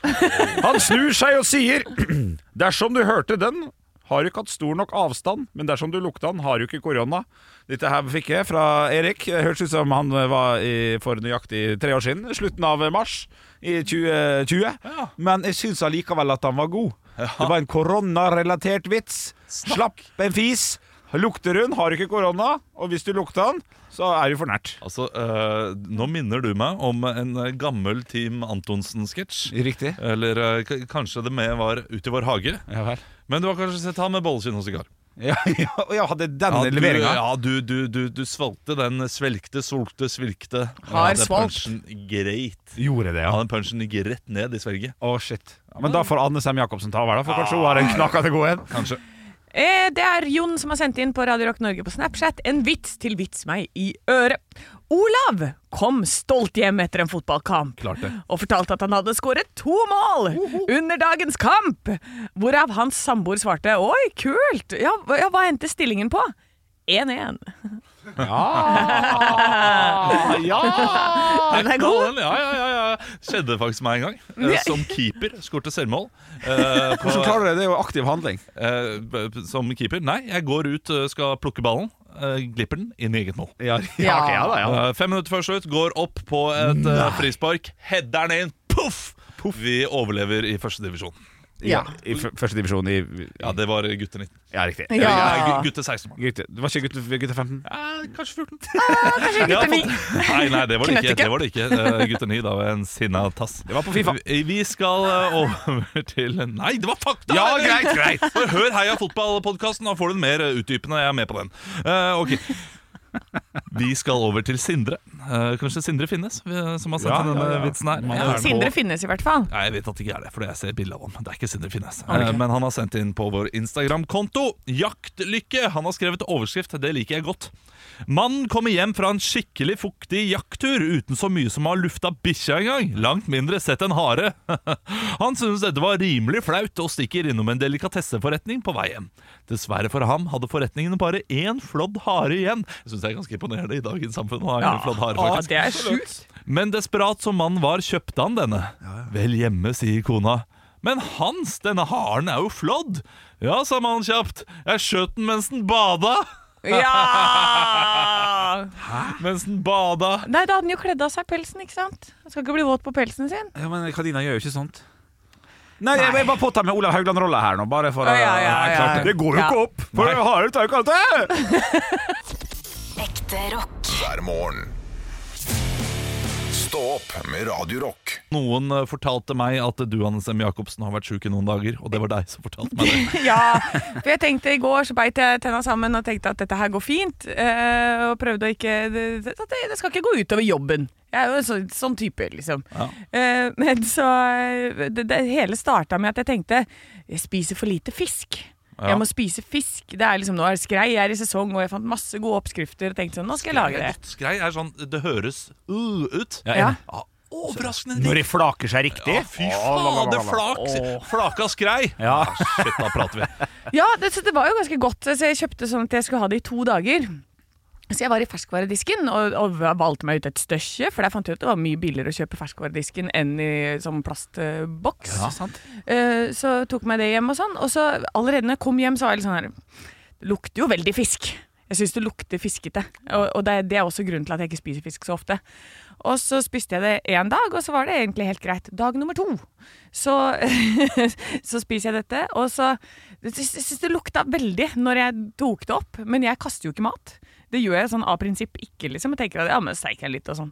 Speaker 4: Han snur seg og sier Dersom du hørte den, har du ikke hatt stor nok avstand, men dersom du lukta den, har du ikke korona. Dette her fikk jeg fra Erik. Det hørtes ut som han var i, for nøyaktig tre år siden. Slutten av mars i 2020. Men jeg syns allikevel at han var god. Det var en koronarelatert vits. Slapp en fis. Lukter hun, har du ikke korona. Og hvis du lukter den, så er du for nært.
Speaker 2: Altså, eh, Nå minner du meg om en eh, gammel Team Antonsen-sketsj.
Speaker 4: Riktig.
Speaker 2: Eller eh, k- kanskje det med var Ut i vår hage.
Speaker 4: Ja vel.
Speaker 2: Men du har kanskje sett han med bollekinn og sigar?
Speaker 4: Ja, ja, og jeg hadde denne
Speaker 2: Ja, du,
Speaker 4: leveringa.
Speaker 2: ja du, du, du, du svalgte den. Svelgte, solgte, svilkte.
Speaker 3: Har
Speaker 2: ja, den
Speaker 3: svalgt.
Speaker 2: punchen greit.
Speaker 4: Gjorde det,
Speaker 2: Ja, den punchen gikk rett ned i svelget.
Speaker 4: Å, shit. Ja, Men da får Anne Sem Jacobsen ta over, da. For kanskje hun har en knakende god en.
Speaker 2: Kanskje.
Speaker 3: Eh, det er Jon som har sendt inn på Radio Rock Norge på Snapchat en vits til vits meg i øret. Olav kom stolt hjem etter en fotballkamp
Speaker 2: Klart det.
Speaker 3: og fortalte at han hadde skåret to mål under dagens kamp, hvorav hans samboer svarte 'oi, kult', ja, hva- ja hva endte stillingen på? 1-1.
Speaker 4: Ah, ja!
Speaker 3: Den er god.
Speaker 2: Ja, ja, ja, ja. Skjedde faktisk meg en gang. eh,
Speaker 3: Nei.
Speaker 2: Som keeper. Skårte selvmål. Eh, på-
Speaker 4: Hvordan klarer du det? Det er jo aktiv handling.
Speaker 2: eh, b- som keeper? Nei, jeg går ut, eh, skal plukke ballen. eh, glipper den inn i eget mål.
Speaker 4: Ja,
Speaker 3: Ja.
Speaker 4: ok, ja da, Ah, ja.
Speaker 2: Eh, fem minutter før slutt går opp på et eh, frispark, header den inn, poff! Vi overlever i første divisjon.
Speaker 3: Ja.
Speaker 4: I, i f- første divisjon i
Speaker 2: Ja, det var gutter 19.
Speaker 4: Ja, riktig.
Speaker 3: Ja.
Speaker 2: Nei, gu- gutter 16. var det.
Speaker 4: Gutte, det var ikke gutte, gutte 15?
Speaker 2: Eh, kanskje 14.
Speaker 3: Kanskje
Speaker 2: Ja,
Speaker 3: gutter ni.
Speaker 2: fått- Nei, nei, det var det ikke.
Speaker 3: Knøttykke.
Speaker 2: Det var det ikke. Eh, gutter 9, da var jeg en sinna tass.
Speaker 4: Det var på Fifa.
Speaker 2: Vi, vi skal eh, over til Nei, det var fakta!
Speaker 4: Ja,
Speaker 2: Henrik!
Speaker 4: greit, greit!
Speaker 2: For hør Heia fotballpodkasten, da får du den mer eh, utdypende. Jeg er med på den. Eh, ok Vi skal over til Sindre. Eh, kanskje Sindre finnes, vi- som har sendt
Speaker 4: Ja,
Speaker 2: inn denne
Speaker 4: ja, ja.
Speaker 2: vitsen her.
Speaker 4: Man
Speaker 2: Eh,
Speaker 4: er
Speaker 2: på-
Speaker 3: Sindre finnes i hvert fall.
Speaker 2: Nei, jeg vet at det ikke er det, fordi jeg ser bilde av ham. Det er ikke Sindre Finnes. Eh, Men han har sendt inn på vår Instagram-konto 'Jaktlykke'. Han har skrevet overskrift, det liker jeg godt. Mannen kommer hjem fra en skikkelig fuktig jakttur uten så mye som å ha lufta bikkja engang. Langt mindre sett en hare. Han synes dette var rimelig flaut og stikker innom en delikatesseforretning på vei hjem. Dessverre for ham hadde forretningene bare én flådd hare igjen. Jeg syns det er ganske imponerende i dagens samfunn å ha én flådd hare,
Speaker 3: Å,
Speaker 2: faktisk.
Speaker 3: det er sjukt.
Speaker 2: Men desperat som mannen var, kjøpte han denne. Vel hjemme, sier kona. Men Hans, denne haren er jo flådd! Ja, sa mannen kjapt. Jeg skjøt den mens den bada.
Speaker 3: Ja!
Speaker 2: Mens den bada.
Speaker 3: Nei, da hadde han jo kledd av seg pelsen, ikke sant? Han skal ikke bli våt på pelsen sin.
Speaker 4: Ja, men Kadina gjør jo ikke sånt. Nei, jeg jeg bare påtar meg Olav Haugland-rolla her nå. Bare for å-
Speaker 3: Å, ja, ja,
Speaker 4: Nei, klart
Speaker 3: ja.
Speaker 4: Det går jo
Speaker 3: Ja.
Speaker 4: ikke opp! For Harald tar jo ikke alt det!
Speaker 5: Ekte rock.
Speaker 1: hver morgen. Stå opp med Radio Rock.
Speaker 2: Noen eh, fortalte meg at du, Anne Sem Jacobsen, har vært sjuk i noen dager. Og det var deg som fortalte meg det.
Speaker 3: Ja, for jeg tenkte i går så beit jeg tenna sammen og tenkte at dette her går fint. eh, og prøvde å ikke det, det, det det skal ikke gå utover jobben. Jeg er jo en sånn, sånn type, liksom. Eh, men så eh, det, det hele starta med at jeg tenkte jeg spiser for lite fisk.
Speaker 2: Ja.
Speaker 3: Jeg må spise fisk. Det er liksom, nå er det skrei, jeg er i sesong, og jeg fant masse gode oppskrifter. Og tenkte sånn, nå skal jeg lage det.
Speaker 2: Skrei er sånn Det høres uh, ut.
Speaker 3: Ja.
Speaker 2: Ja, overraskende
Speaker 4: Når
Speaker 2: digg.
Speaker 4: de flaker seg riktig.
Speaker 2: Ja, fy fader, flak, flaka skrei! Ah,
Speaker 4: Ja.
Speaker 2: Shit, da prater vi.
Speaker 3: Ja, det, så det var jo ganske godt, så jeg kjøpte sånn at jeg skulle ha det i to dager. Så jeg var i ferskvaredisken og, og valgte meg ut et støsje, for der fant jeg ut det var mye billigere å kjøpe ferskvaredisken enn i sånn plastboks. Eh, så tok meg det hjem og sånn, og så allerede når jeg kom hjem så var jeg litt sånn her, det lukter jo veldig fisk. Jeg synes det lukter fiskete, og, og det, er- det er også grunnen til at jeg ikke spiser fisk så ofte. Og så spiste jeg det en dag, og så var det egentlig helt greit. Dag nummer to, så, så spiser jeg dette, og så Jeg syns det lukta veldig når jeg tok det opp, men jeg kaster jo ikke mat. Det gjør jeg sånn av prinsipp ikke, liksom. Jeg tenker at ja, men steik jeg litt og sånn.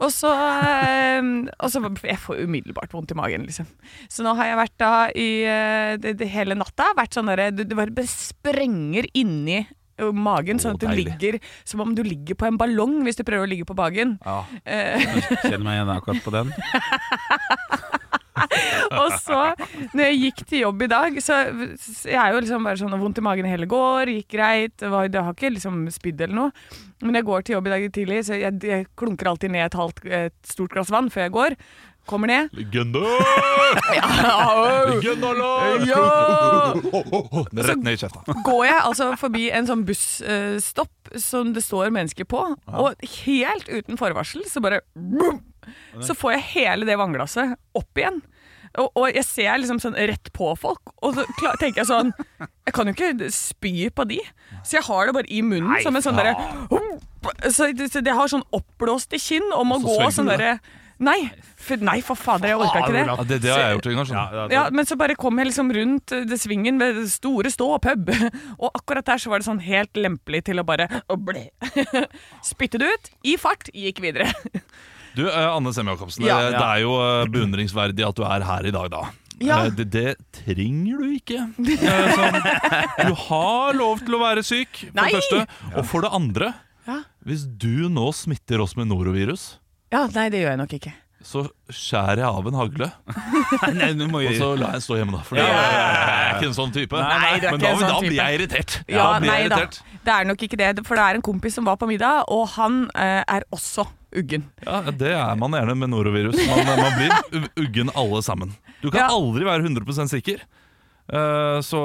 Speaker 3: Og så, eh, og så Jeg får umiddelbart vondt i magen, liksom. Så nå har jeg vært da i eh, det, det hele natta vært sånn derre Det det bare bare sprenger inni eh, magen, sånn at du
Speaker 2: deilig.
Speaker 3: ligger som om du ligger på en ballong hvis du prøver å ligge på magen.
Speaker 4: Ja. Kjenner meg igjen akkurat på den.
Speaker 3: Og så, når jeg gikk til jobb i dag, så så jeg er jo liksom bare sånn vondt i magen hele går, gikk greit, det var- det har ikke liksom spydd eller noe. Men jeg går til jobb i dag tidlig, så jeg, jeg klunker alltid ned et, halvt, et stort glass vann før jeg går. Kommer ned.
Speaker 2: Legende!
Speaker 3: Au!
Speaker 2: Legende-alarm!
Speaker 3: Ja!
Speaker 2: Rett ned i kjefta.
Speaker 3: går jeg altså forbi en sånn busstopp eh, som det står mennesker på, og helt uten forvarsel så bare boom, Så får jeg hele det vannglasset opp igjen. Og, og jeg ser liksom sånn rett på folk, og så kla- tenker jeg sånn Jeg kan jo ikke spy på de, så jeg har det bare i munnen som en sånn derre så, så jeg har sånn oppblåste kinn og må
Speaker 2: Og så
Speaker 3: gå
Speaker 2: svelger
Speaker 3: sånn
Speaker 2: du det.
Speaker 3: derre Nei, for, nei, for fader, jeg orka ikke det.
Speaker 2: Ja, det, det har jeg gjort en gang. Sånn.
Speaker 3: Ja, men så bare kom jeg liksom rundt eh, det svingen ved det store stå og pub. Og akkurat der så var det sånn helt lempelig til å bare å ble. Spytte det ut, i fart, gikk videre.
Speaker 2: Du, eh, Anne Sem Jacobsen,
Speaker 3: Ja.
Speaker 2: det, det er jo eh, beundringsverdig at du er her i dag, da.
Speaker 3: Ja.
Speaker 2: Eh, Det, det trenger du ikke. Eh, Sånn. Du har lov til å være syk, for
Speaker 3: Nei!
Speaker 2: det første. Og for det andre,
Speaker 3: Ja.
Speaker 2: hvis du nå smitter oss med norovirus,
Speaker 3: Ja, nei, det gjør jeg nok ikke.
Speaker 2: så skjærer jeg av en hagle,
Speaker 4: Nei, du må
Speaker 2: og
Speaker 4: jo
Speaker 2: så lar jeg den stå hjemme, da. For
Speaker 4: Ja.
Speaker 2: jeg er ikke en sånn type.
Speaker 3: Nei, du er
Speaker 2: Men
Speaker 3: ikke
Speaker 2: da,
Speaker 3: en sånn
Speaker 2: da
Speaker 3: type.
Speaker 2: blir jeg irritert.
Speaker 3: Ja,
Speaker 2: da blir
Speaker 3: nei
Speaker 2: jeg
Speaker 3: da.
Speaker 2: irritert.
Speaker 3: Det er nok ikke det, for det er en kompis som var på middag, og han eh, er også uggen.
Speaker 2: Ja, Det er man gjerne med norovirus. Man, man blir u- uggen alle sammen. Du kan
Speaker 3: Ja.
Speaker 2: aldri være 100 sikker. Eh, så,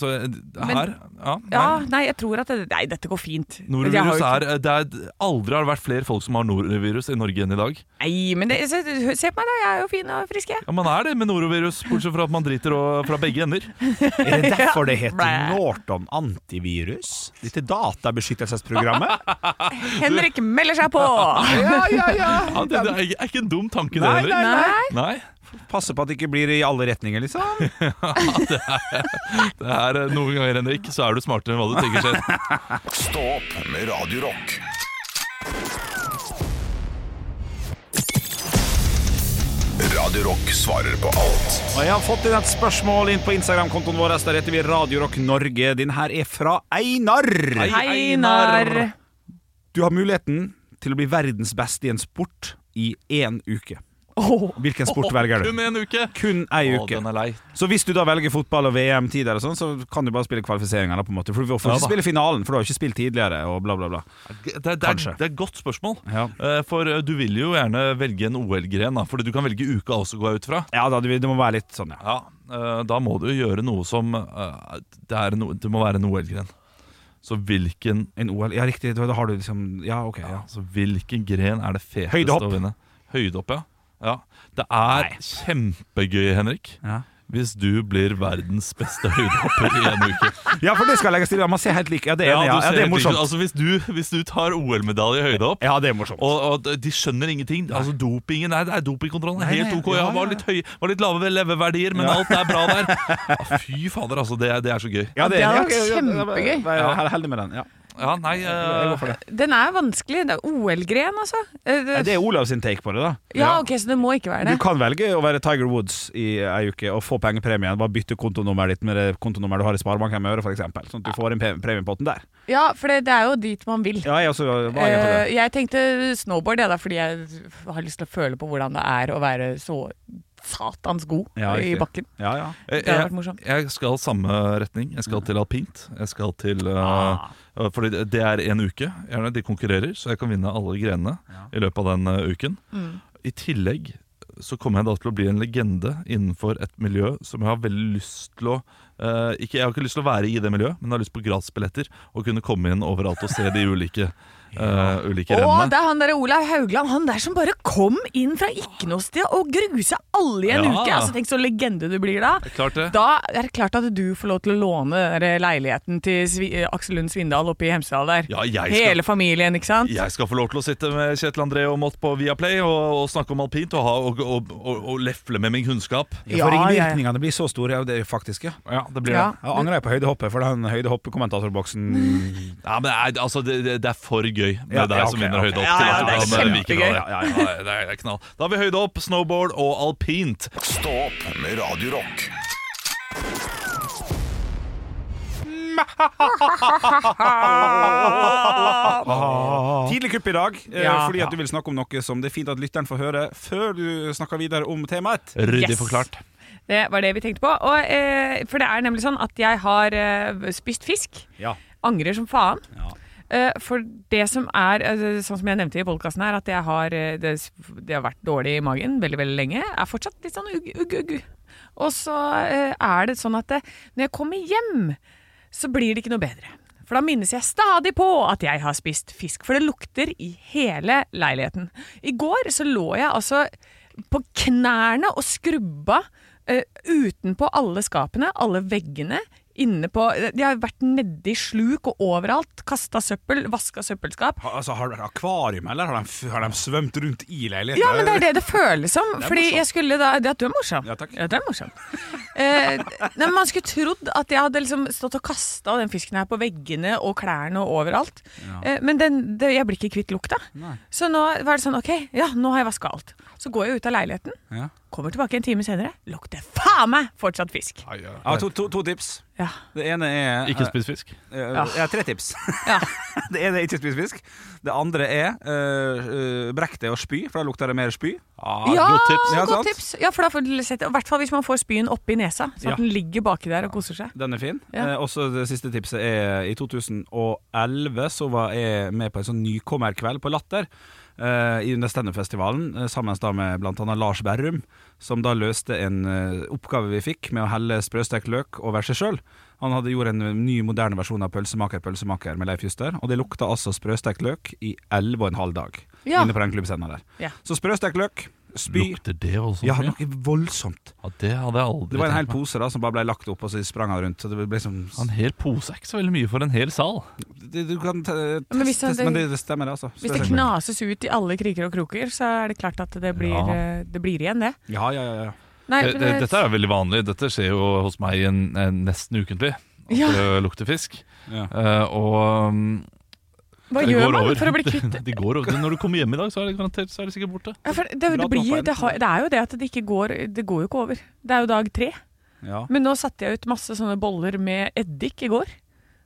Speaker 2: så eh, her Ja.
Speaker 3: Ja,
Speaker 2: nei.
Speaker 3: nei, jeg tror at det, Nei, dette går fint. Jeg har
Speaker 2: Norovirus
Speaker 3: jo ikke-
Speaker 2: er, eh, det er Aldri har det vært flere folk som har norovirus i Norge enn i dag.
Speaker 3: Nei, men det, se, se på meg, da. Jeg er jo fin og frisk, jeg.
Speaker 2: Ja, Man er det med norovirus, bortsett fra at man driter og, fra begge ender.
Speaker 4: Er det derfor det heter
Speaker 3: Blæ.
Speaker 4: Norton antivirus? Dette databeskyttelsesprogrammet?
Speaker 3: Henrik melder seg på!
Speaker 4: Ja, ja, ja!
Speaker 2: Ja, det, det er, er ikke en dum tanke, det
Speaker 4: Nei,
Speaker 2: heller.
Speaker 4: nei,
Speaker 3: Nei,
Speaker 2: Nei,
Speaker 4: Passe på at det ikke blir i alle retninger, liksom.
Speaker 2: det er eh, Noen ganger, Henrik, så er du smartere enn hva du tenker selv.
Speaker 1: Stå opp med Radio Rock. Radio Rock svarer på alt.
Speaker 4: Og jeg har fått inn et spørsmål inn på Instagram-kontoen vår. Der heter vi Radio Rock Norge. Din her er fra Einar.
Speaker 3: Einar.
Speaker 4: Du har muligheten til å bli verdens beste i en sport i én uke.
Speaker 3: Åh,
Speaker 4: Hvilken sport velger
Speaker 2: Kun
Speaker 4: du?
Speaker 2: en uke!
Speaker 4: Kun ei
Speaker 2: Å,
Speaker 4: uke.
Speaker 2: den er lei.
Speaker 4: Så hvis du da velger fotball og VM-tider og sånn, så kan du bare spille kvalifiseringa, da, på en måte. For du får
Speaker 2: Ja,
Speaker 4: ikke
Speaker 2: da.
Speaker 4: spille finalen, for du har ikke spilt tidligere, og bla, bla, bla.
Speaker 2: Det, det, er,
Speaker 4: Kanskje.
Speaker 2: det er et godt spørsmål.
Speaker 4: Ja.
Speaker 2: Eh, For eh, du vil jo gjerne velge en OL-gren, da, fordi du kan velge uka også, går jeg ut fra.
Speaker 4: Ja da, du- det må være litt sånn, ja.
Speaker 2: Ja, eh, Da må du jo gjøre noe som eh, Det, er no, det må være en OL-gren. Så hvilken,
Speaker 4: En OL Ja, riktig, da da har du liksom Ja, OK. Ja.
Speaker 2: altså, hvilken gren er det feteste
Speaker 4: Høydehopp.
Speaker 2: å vinne? Høydehopp, ja. ja. Det er
Speaker 4: Nei.
Speaker 2: kjempegøy, Henrik.
Speaker 4: Ja.
Speaker 2: Hvis du blir verdens beste høydehopper i en uke.
Speaker 4: ja, for det skal legges til. Ja, man ser helt like Ja, det er, enig,
Speaker 2: du
Speaker 4: ja,
Speaker 2: ser
Speaker 4: ja, det er
Speaker 2: helt riktig ut.
Speaker 4: morsomt.
Speaker 2: Altså, hvis, du, hvis du tar OL-medalje i høydehopp
Speaker 4: Ja, det er morsomt.
Speaker 2: og, og de skjønner ingenting. Altså Dopingen nei, det er dopingkontrollen. er
Speaker 4: Nei,
Speaker 2: Helt
Speaker 4: nei,
Speaker 2: ok.
Speaker 4: ja,
Speaker 2: Ja,
Speaker 4: ja,
Speaker 2: var, litt høy, var litt lave leveverdier, men alt er bra der. Ja, fy fader, altså. Det, er- det er så gøy.
Speaker 4: Ja,
Speaker 3: det hadde
Speaker 4: ok,
Speaker 3: vært
Speaker 4: ja, ja,
Speaker 3: kjempegøy.
Speaker 4: vær- vær Heldig med den. Ja.
Speaker 2: Ja, nei
Speaker 4: Jeg går
Speaker 2: eh,
Speaker 4: for det.
Speaker 3: den er vanskelig. Det er OL-gren, altså. Eh,
Speaker 4: Nei,
Speaker 3: det-
Speaker 4: Det er Olav sin take på det, da.
Speaker 3: Ja, ok, så det må ikke være
Speaker 4: Du
Speaker 3: det.
Speaker 4: kan velge å være Tiger Woods i ei uke og få pengepremien. Bare bytte kontonummeret ditt med det kontonummeret du har i Sparebanken med Øre, f.eks. Sånn at du får en pe- premie på den der.
Speaker 3: Ja, for det, det er jo dit man vil.
Speaker 4: Ja, jeg også var enig på
Speaker 3: Eh,
Speaker 4: det.
Speaker 3: jeg tenkte snowboard, jeg, da, fordi jeg har lyst til å føle på hvordan det er å være så satans god
Speaker 4: Ja,
Speaker 3: i
Speaker 4: riktig.
Speaker 3: bakken.
Speaker 4: Ja, ja.
Speaker 2: jeg,
Speaker 3: Det hadde vært
Speaker 2: jeg,
Speaker 3: morsomt.
Speaker 2: jeg skal samme retning. Jeg skal til alpint. Jeg skal til
Speaker 3: Ah.
Speaker 2: uh, Fordi det- det er en uke. Gjerne de konkurrerer, så jeg kan vinne alle grenene i løpet av den eh, uken.
Speaker 3: Mm.
Speaker 2: I tillegg så kommer jeg da til å bli en legende innenfor et miljø som jeg har veldig lyst til å eh, ikke, Jeg har ikke lyst til å være i det miljøet, men jeg har lyst på gratisbilletter og kunne komme inn overalt og se de ulike, eh, ulike
Speaker 3: Å, det
Speaker 2: rennene.
Speaker 3: er han der Olav Haugland, han der som bare kom inn fra ikke noe sted og grusa alle i en
Speaker 2: Ja.
Speaker 3: uke. Altså, tenk så legende du blir da.
Speaker 2: Klart det.
Speaker 3: Da er det klart at du får lov til å låne den der leiligheten til Svi eh, Aksel Lund Svindal oppe i Hemsedal der.
Speaker 2: Ja, jeg skal-
Speaker 3: Hele familien, ikke sant?
Speaker 2: Jeg skal få lov til å sitte med Kjetil André og Mott på Viaplay og, og snakke om alpint og, ha, og, og, og, og lefle med min kunnskap.
Speaker 4: Ja, for
Speaker 3: Ja, ja, ja.
Speaker 4: ringvirkningene blir så store, ja, det er faktisk, ja.
Speaker 2: Ja, det blir
Speaker 3: Ja.
Speaker 2: det.
Speaker 4: Jeg angrer jeg på høydehoppet, for den høydehoppkommentatorboksen
Speaker 2: Ja, men nei, altså, det, det, det er for gøy med
Speaker 4: Ja,
Speaker 2: deg
Speaker 4: ja,
Speaker 2: som
Speaker 4: ok,
Speaker 2: vinner
Speaker 4: ok.
Speaker 2: høydehopp.
Speaker 3: Ja,
Speaker 2: til
Speaker 3: ja,
Speaker 2: at
Speaker 3: det
Speaker 2: du
Speaker 3: er
Speaker 2: kan, eh,
Speaker 3: kjempegøy.
Speaker 2: vike fra det. Ja, det er- det er knall. Da har vi høydehopp, snowboard og alpint.
Speaker 1: Stå opp med Radio Rock.
Speaker 4: Tidlig kupp i dag, eh,
Speaker 3: Ja.
Speaker 4: fordi at du vil snakke om noe som det er fint at lytteren får høre før du snakker videre om temaet.
Speaker 2: Ryddig
Speaker 3: Yes.
Speaker 2: forklart.
Speaker 3: Det var det vi tenkte på. Og, eh, for det er nemlig sånn at jeg har eh, spist fisk.
Speaker 4: Ja.
Speaker 3: Angrer som faen.
Speaker 4: Ja.
Speaker 3: Eh, for det som er, altså, sånn som jeg nevnte i podkasten her, at jeg har, eh, det, det har vært dårlig i magen veldig, veldig lenge. Er fortsatt litt sånn ugg, ugg, ugg. Og så eh, er det sånn at det, når jeg kommer hjem, så blir det ikke noe bedre. For da minnes jeg stadig på at jeg har spist fisk, for det lukter i hele leiligheten. I går så lå jeg altså på knærne og skrubba eh, utenpå alle skapene, alle veggene. Inne på, de har vært nedi sluk og overalt. Kasta søppel, vaska søppelskap.
Speaker 4: Ha, altså, har du et akvarium, eller har de, f- har de svømt rundt i leiligheten?
Speaker 3: Ja, men det er det det føles som.
Speaker 4: er
Speaker 3: fordi
Speaker 4: morsomt.
Speaker 3: jeg skulle da det At du er morsom.
Speaker 4: Ja, takk.
Speaker 3: du er morsom. Eh, nei, men man skulle trodd at jeg hadde liksom stått og kasta den fisken her på veggene og klærne og overalt. Eh, men den, det, jeg blir ikke kvitt lukta. Så nå var det sånn OK, ja, nå har jeg vaska alt. Så går jeg ut av leiligheten,
Speaker 4: Ja.
Speaker 3: kommer tilbake en time senere, lukter faen meg fortsatt fisk.
Speaker 4: Ja, to, to, to tips.
Speaker 3: Ja.
Speaker 4: Det ene er
Speaker 2: Ikke spis fisk.
Speaker 4: eh, eh, Ja, tre tips.
Speaker 3: Ja.
Speaker 4: det ene er ikke spis fisk. Det andre er eh, eh, brekk deg og spy, for da lukter det mer spy.
Speaker 3: Ja,
Speaker 2: godt tips.
Speaker 4: Ja, sant?
Speaker 3: godt tips. Ja, for da får du sett, I hvert fall hvis man får spyen oppi nesa, så
Speaker 4: Ja.
Speaker 3: at den ligger baki der og koser seg.
Speaker 4: Den er fin.
Speaker 3: Ja.
Speaker 4: Eh, også det siste tipset er i 2011 så var jeg med på en sånn nykommerkveld på Latter. eh, i- under Stendøfestivalen, eh, sammen da med bl.a. Lars Berrum, som da løste en eh, oppgave vi fikk med å helle sprøstekt løk over seg sjøl. Han hadde gjort en eh, ny, moderne versjon av Pølsemaker, pølsemaker med Leif Juster, og det lukta altså sprøstekt løk i 11,5 dag
Speaker 3: Ja.
Speaker 4: inne på den klubbscenen der.
Speaker 3: Ja.
Speaker 4: Så sprøstekt løk, spy
Speaker 2: Lukter det også?
Speaker 4: Ja,
Speaker 2: mye?
Speaker 4: noe voldsomt.
Speaker 2: ja, det hadde jeg aldri
Speaker 4: Det var en hel
Speaker 2: tenkt meg.
Speaker 4: pose da som bare ble lagt opp, og så sprang han rundt. Så det ble liksom
Speaker 2: En hel pose er ikke så veldig mye for en hel sal.
Speaker 4: det, du kan te-
Speaker 3: Men hvis
Speaker 4: teste, men
Speaker 3: han-
Speaker 4: det, det stemmer, altså.
Speaker 3: Hvis det knases ut i alle kriker og kroker, så er det klart at det blir,
Speaker 2: Ja.
Speaker 3: eh, det blir igjen, det.
Speaker 4: Ja, ja, ja, ja.
Speaker 3: Nei,
Speaker 2: Det, det,
Speaker 3: men-
Speaker 2: dette er veldig vanlig. Dette skjer jo hos meg en, en nesten ukentlig. At
Speaker 3: Ja.
Speaker 2: det lukter fisk.
Speaker 4: Ja.
Speaker 2: Eh, og um,
Speaker 3: hva
Speaker 2: det
Speaker 3: gjør
Speaker 2: går
Speaker 3: man
Speaker 2: over.
Speaker 3: for å bli kvitt
Speaker 2: Det går over. Når du kommer hjem i dag, så er det garantert så er det sikkert borte.
Speaker 3: ja, for det, det, blir, det, har, det er jo det at det ikke går Det går jo ikke over. Det er jo dag tre.
Speaker 4: Ja.
Speaker 3: Men nå satte jeg ut masse sånne boller med eddik i går.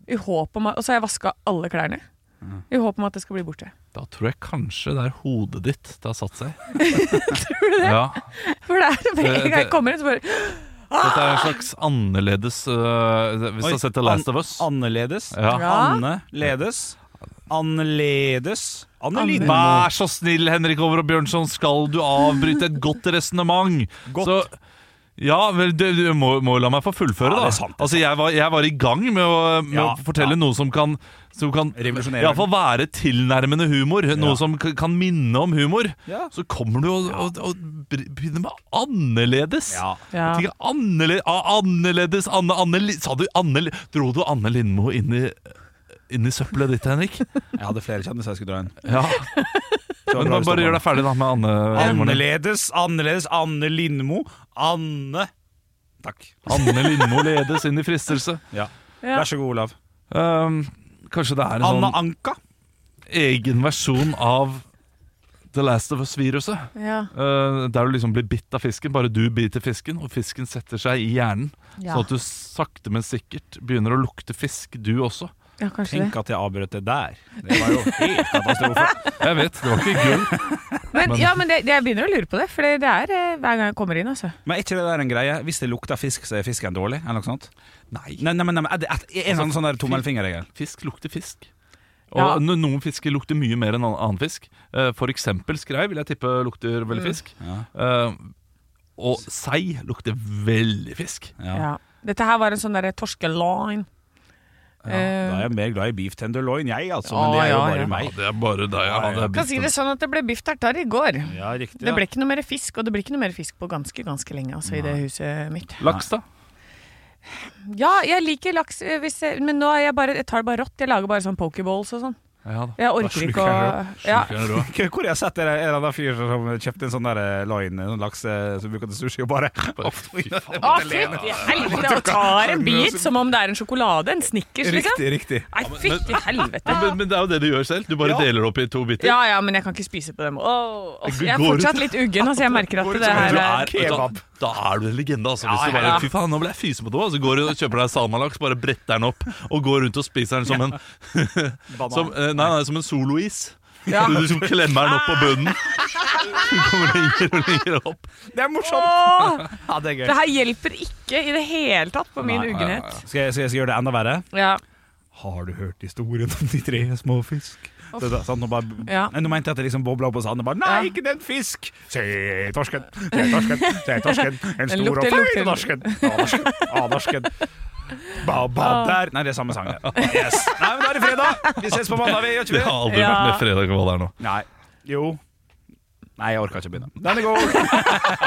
Speaker 3: I håp om at, Og så har jeg vaska alle klærne.
Speaker 2: Mm.
Speaker 3: I håp om at det skal bli borte.
Speaker 2: Da tror jeg kanskje det er hodet ditt det har satt seg. tror du det? Ja.
Speaker 3: For det er med en
Speaker 2: Det-
Speaker 3: gang jeg
Speaker 2: det-
Speaker 3: kommer inn, så bare
Speaker 2: Dette er en slags annerledes øh, Hvis du har sett The Last of Us.
Speaker 4: Annerledes.
Speaker 2: Ja.
Speaker 3: Ja.
Speaker 4: Annerledes. Annerledes. Annerledes.
Speaker 2: Vær så snill, Henrik Over og Bjørnson, skal du avbryte et godt resonnement?
Speaker 4: Godt.
Speaker 2: Så ja, vel, du, du må, må la meg få fullføre,
Speaker 4: Ja,
Speaker 2: da.
Speaker 4: det er sant, det er
Speaker 2: altså, jeg var, jeg var i gang med å, med
Speaker 4: Ja,
Speaker 2: å fortelle noe som kan, som kan
Speaker 4: Revolusjonere.
Speaker 2: Iallfall være tilnærmende humor. Noe som k- kan minne om humor.
Speaker 4: Ja.
Speaker 2: Så kommer du og, og, og br- begynner med annerledes.
Speaker 4: Ja.
Speaker 3: Ja.
Speaker 2: Jeg tenker annerledes, ah, annerledes Anne, Anne, Li- Sa du Anne Li- Dro du Anne Lindmo inn i, inn i søppelet ditt, Henrik?
Speaker 4: Jeg hadde flere kjendiser jeg skulle dra inn.
Speaker 2: Ja, men bare, bare gjør deg ferdig da med Anne. Lindmo.
Speaker 4: Annerledes, annerledes. Anne Lindmo. Anne Takk.
Speaker 2: Anne Lindmo ledes inn i fristelse.
Speaker 4: Ja.
Speaker 3: Ja.
Speaker 4: Vær så god, Olav.
Speaker 2: Um, kanskje det er en
Speaker 4: Anna
Speaker 2: sånn
Speaker 4: Anka.
Speaker 2: egen versjon av The Last of Us-viruset.
Speaker 3: Ja.
Speaker 2: Uh, der du liksom blir bitt av fisken, bare du biter fisken, og fisken setter seg i hjernen.
Speaker 3: Ja.
Speaker 2: Sånn at du sakte, men sikkert begynner å lukte fisk, du også.
Speaker 3: ja, kanskje det.
Speaker 4: Tenk at jeg avbrøt det der. Det var jo helt katastrofe.
Speaker 2: Jeg vet, det var ikke gull.
Speaker 3: Men, ja, men det, det- jeg begynner å lure på det, for det det er eh, hver gang jeg kommer inn, altså.
Speaker 4: Men er ikke det der en greie? Hvis det lukter fisk, så er fisken dårlig? Eller noe sånt? Nei. nei, nei, men- nei, men er det er det en sånn, sånn der tommelfingerregel?
Speaker 2: Fisk lukter fisk. Og
Speaker 3: Ja.
Speaker 2: no- Noen fisker lukter mye mer enn annen- annen fisk. Eh, For eksempel skrei vil jeg tippe lukter veldig
Speaker 3: Mm.
Speaker 2: fisk. Eh, Og sei lukter veldig fisk.
Speaker 3: Ja. Dette her var en sånn derre torskeline. Eh,
Speaker 4: Da er jeg mer glad i beef tenderloin, jeg, altså. Men det er jo
Speaker 3: Ja, ja,
Speaker 4: bare
Speaker 3: ja.
Speaker 4: meg.
Speaker 2: det er bare deg jeg hadde
Speaker 3: kan si det sånn at det ble biff tartar i går.
Speaker 4: Ja, riktig.
Speaker 3: Det ble ikke noe mer fisk, og det blir ikke noe mer fisk på ganske, ganske lenge, altså, i det huset mitt.
Speaker 2: Laks, da?
Speaker 3: Ja, jeg liker laks, eh, hvis jeg, men nå er jeg bare, jeg tar det bare rått. Jeg lager bare sånn pokeballs og sånn.
Speaker 2: Ja, da.
Speaker 3: Jeg
Speaker 2: Da
Speaker 3: orker ikke å
Speaker 2: sluker jeg den rå.
Speaker 3: ja.
Speaker 2: Sluker jeg den rå.
Speaker 4: Hvor hvor har jeg sett en en eller annen fyr som kjøpte en sånn der eh, loin, en sånn laks eh, som bruker til sushi, og bare
Speaker 3: Å, Ah, fytti helvete! Og tar en bit som om det er en sjokolade, en Snickers, liksom.
Speaker 4: Riktig, riktig.
Speaker 3: Nei, fytti helvete.
Speaker 2: Men, men det er jo det du gjør selv. Du bare deler opp i to biter.
Speaker 3: Ja ja, men jeg kan ikke spise på dem. Åh, åh, jeg er
Speaker 2: Går ut-
Speaker 3: fortsatt litt uggen, altså. Jeg merker at det
Speaker 2: Du er,
Speaker 3: her er
Speaker 2: vet du hva, da er du en legende, altså. Hvis du
Speaker 3: ja, ja.
Speaker 2: bare Fy faen, nå ble jeg fysemodå. Så går du og kjøper deg salmalaks, bare bretter den opp og går rundt og spiser den som en Som, eh, nei, nei, som en solois.
Speaker 3: Ja.
Speaker 2: Du, du som klemmer den opp på bunnen. Du kommer lenger og lenger opp.
Speaker 4: Det er morsomt!
Speaker 3: Åh,
Speaker 4: Ja, det er gøy.
Speaker 3: Det her hjelper ikke i det hele tatt på min
Speaker 4: Nei, nei,
Speaker 3: uggenhet.
Speaker 4: Skal jeg, skal jeg skal jeg gjøre det enda verre?
Speaker 3: Ja.
Speaker 4: Har du hørt historien om de tre små fisk? Det, det, sant, nå, bare,
Speaker 3: Ja.
Speaker 4: Nei, nå mente jeg at det liksom bobla opp hos Anne. Bare,
Speaker 3: Ja.
Speaker 4: Nei, ikke den fisk! Se torsken, se torsken, se torsken. En
Speaker 3: Den
Speaker 4: stor og
Speaker 3: lukter-
Speaker 4: feit
Speaker 3: lukter-
Speaker 4: norsken. A-norsken, A-norsken. Ba, ba,
Speaker 3: Ah.
Speaker 4: der. Nei, det er samme sang. det. Yes. Nei, men da er det fredag! Vi ses på mandag, vi. Gjør
Speaker 2: Det
Speaker 4: ikke
Speaker 2: har
Speaker 4: vi?
Speaker 2: aldri
Speaker 3: Ja.
Speaker 2: vært mer fredag enn hva det er nå.
Speaker 4: Nei. Jo. Nei, jeg orka ikke å begynne. Den er god!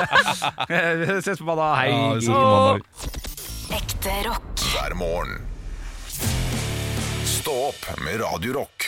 Speaker 4: Vi ses på mandag. Hei.
Speaker 2: Ja, vi ses på mandag.
Speaker 5: Ekte rock.
Speaker 1: hver morgen. Stå opp med Radio Rock.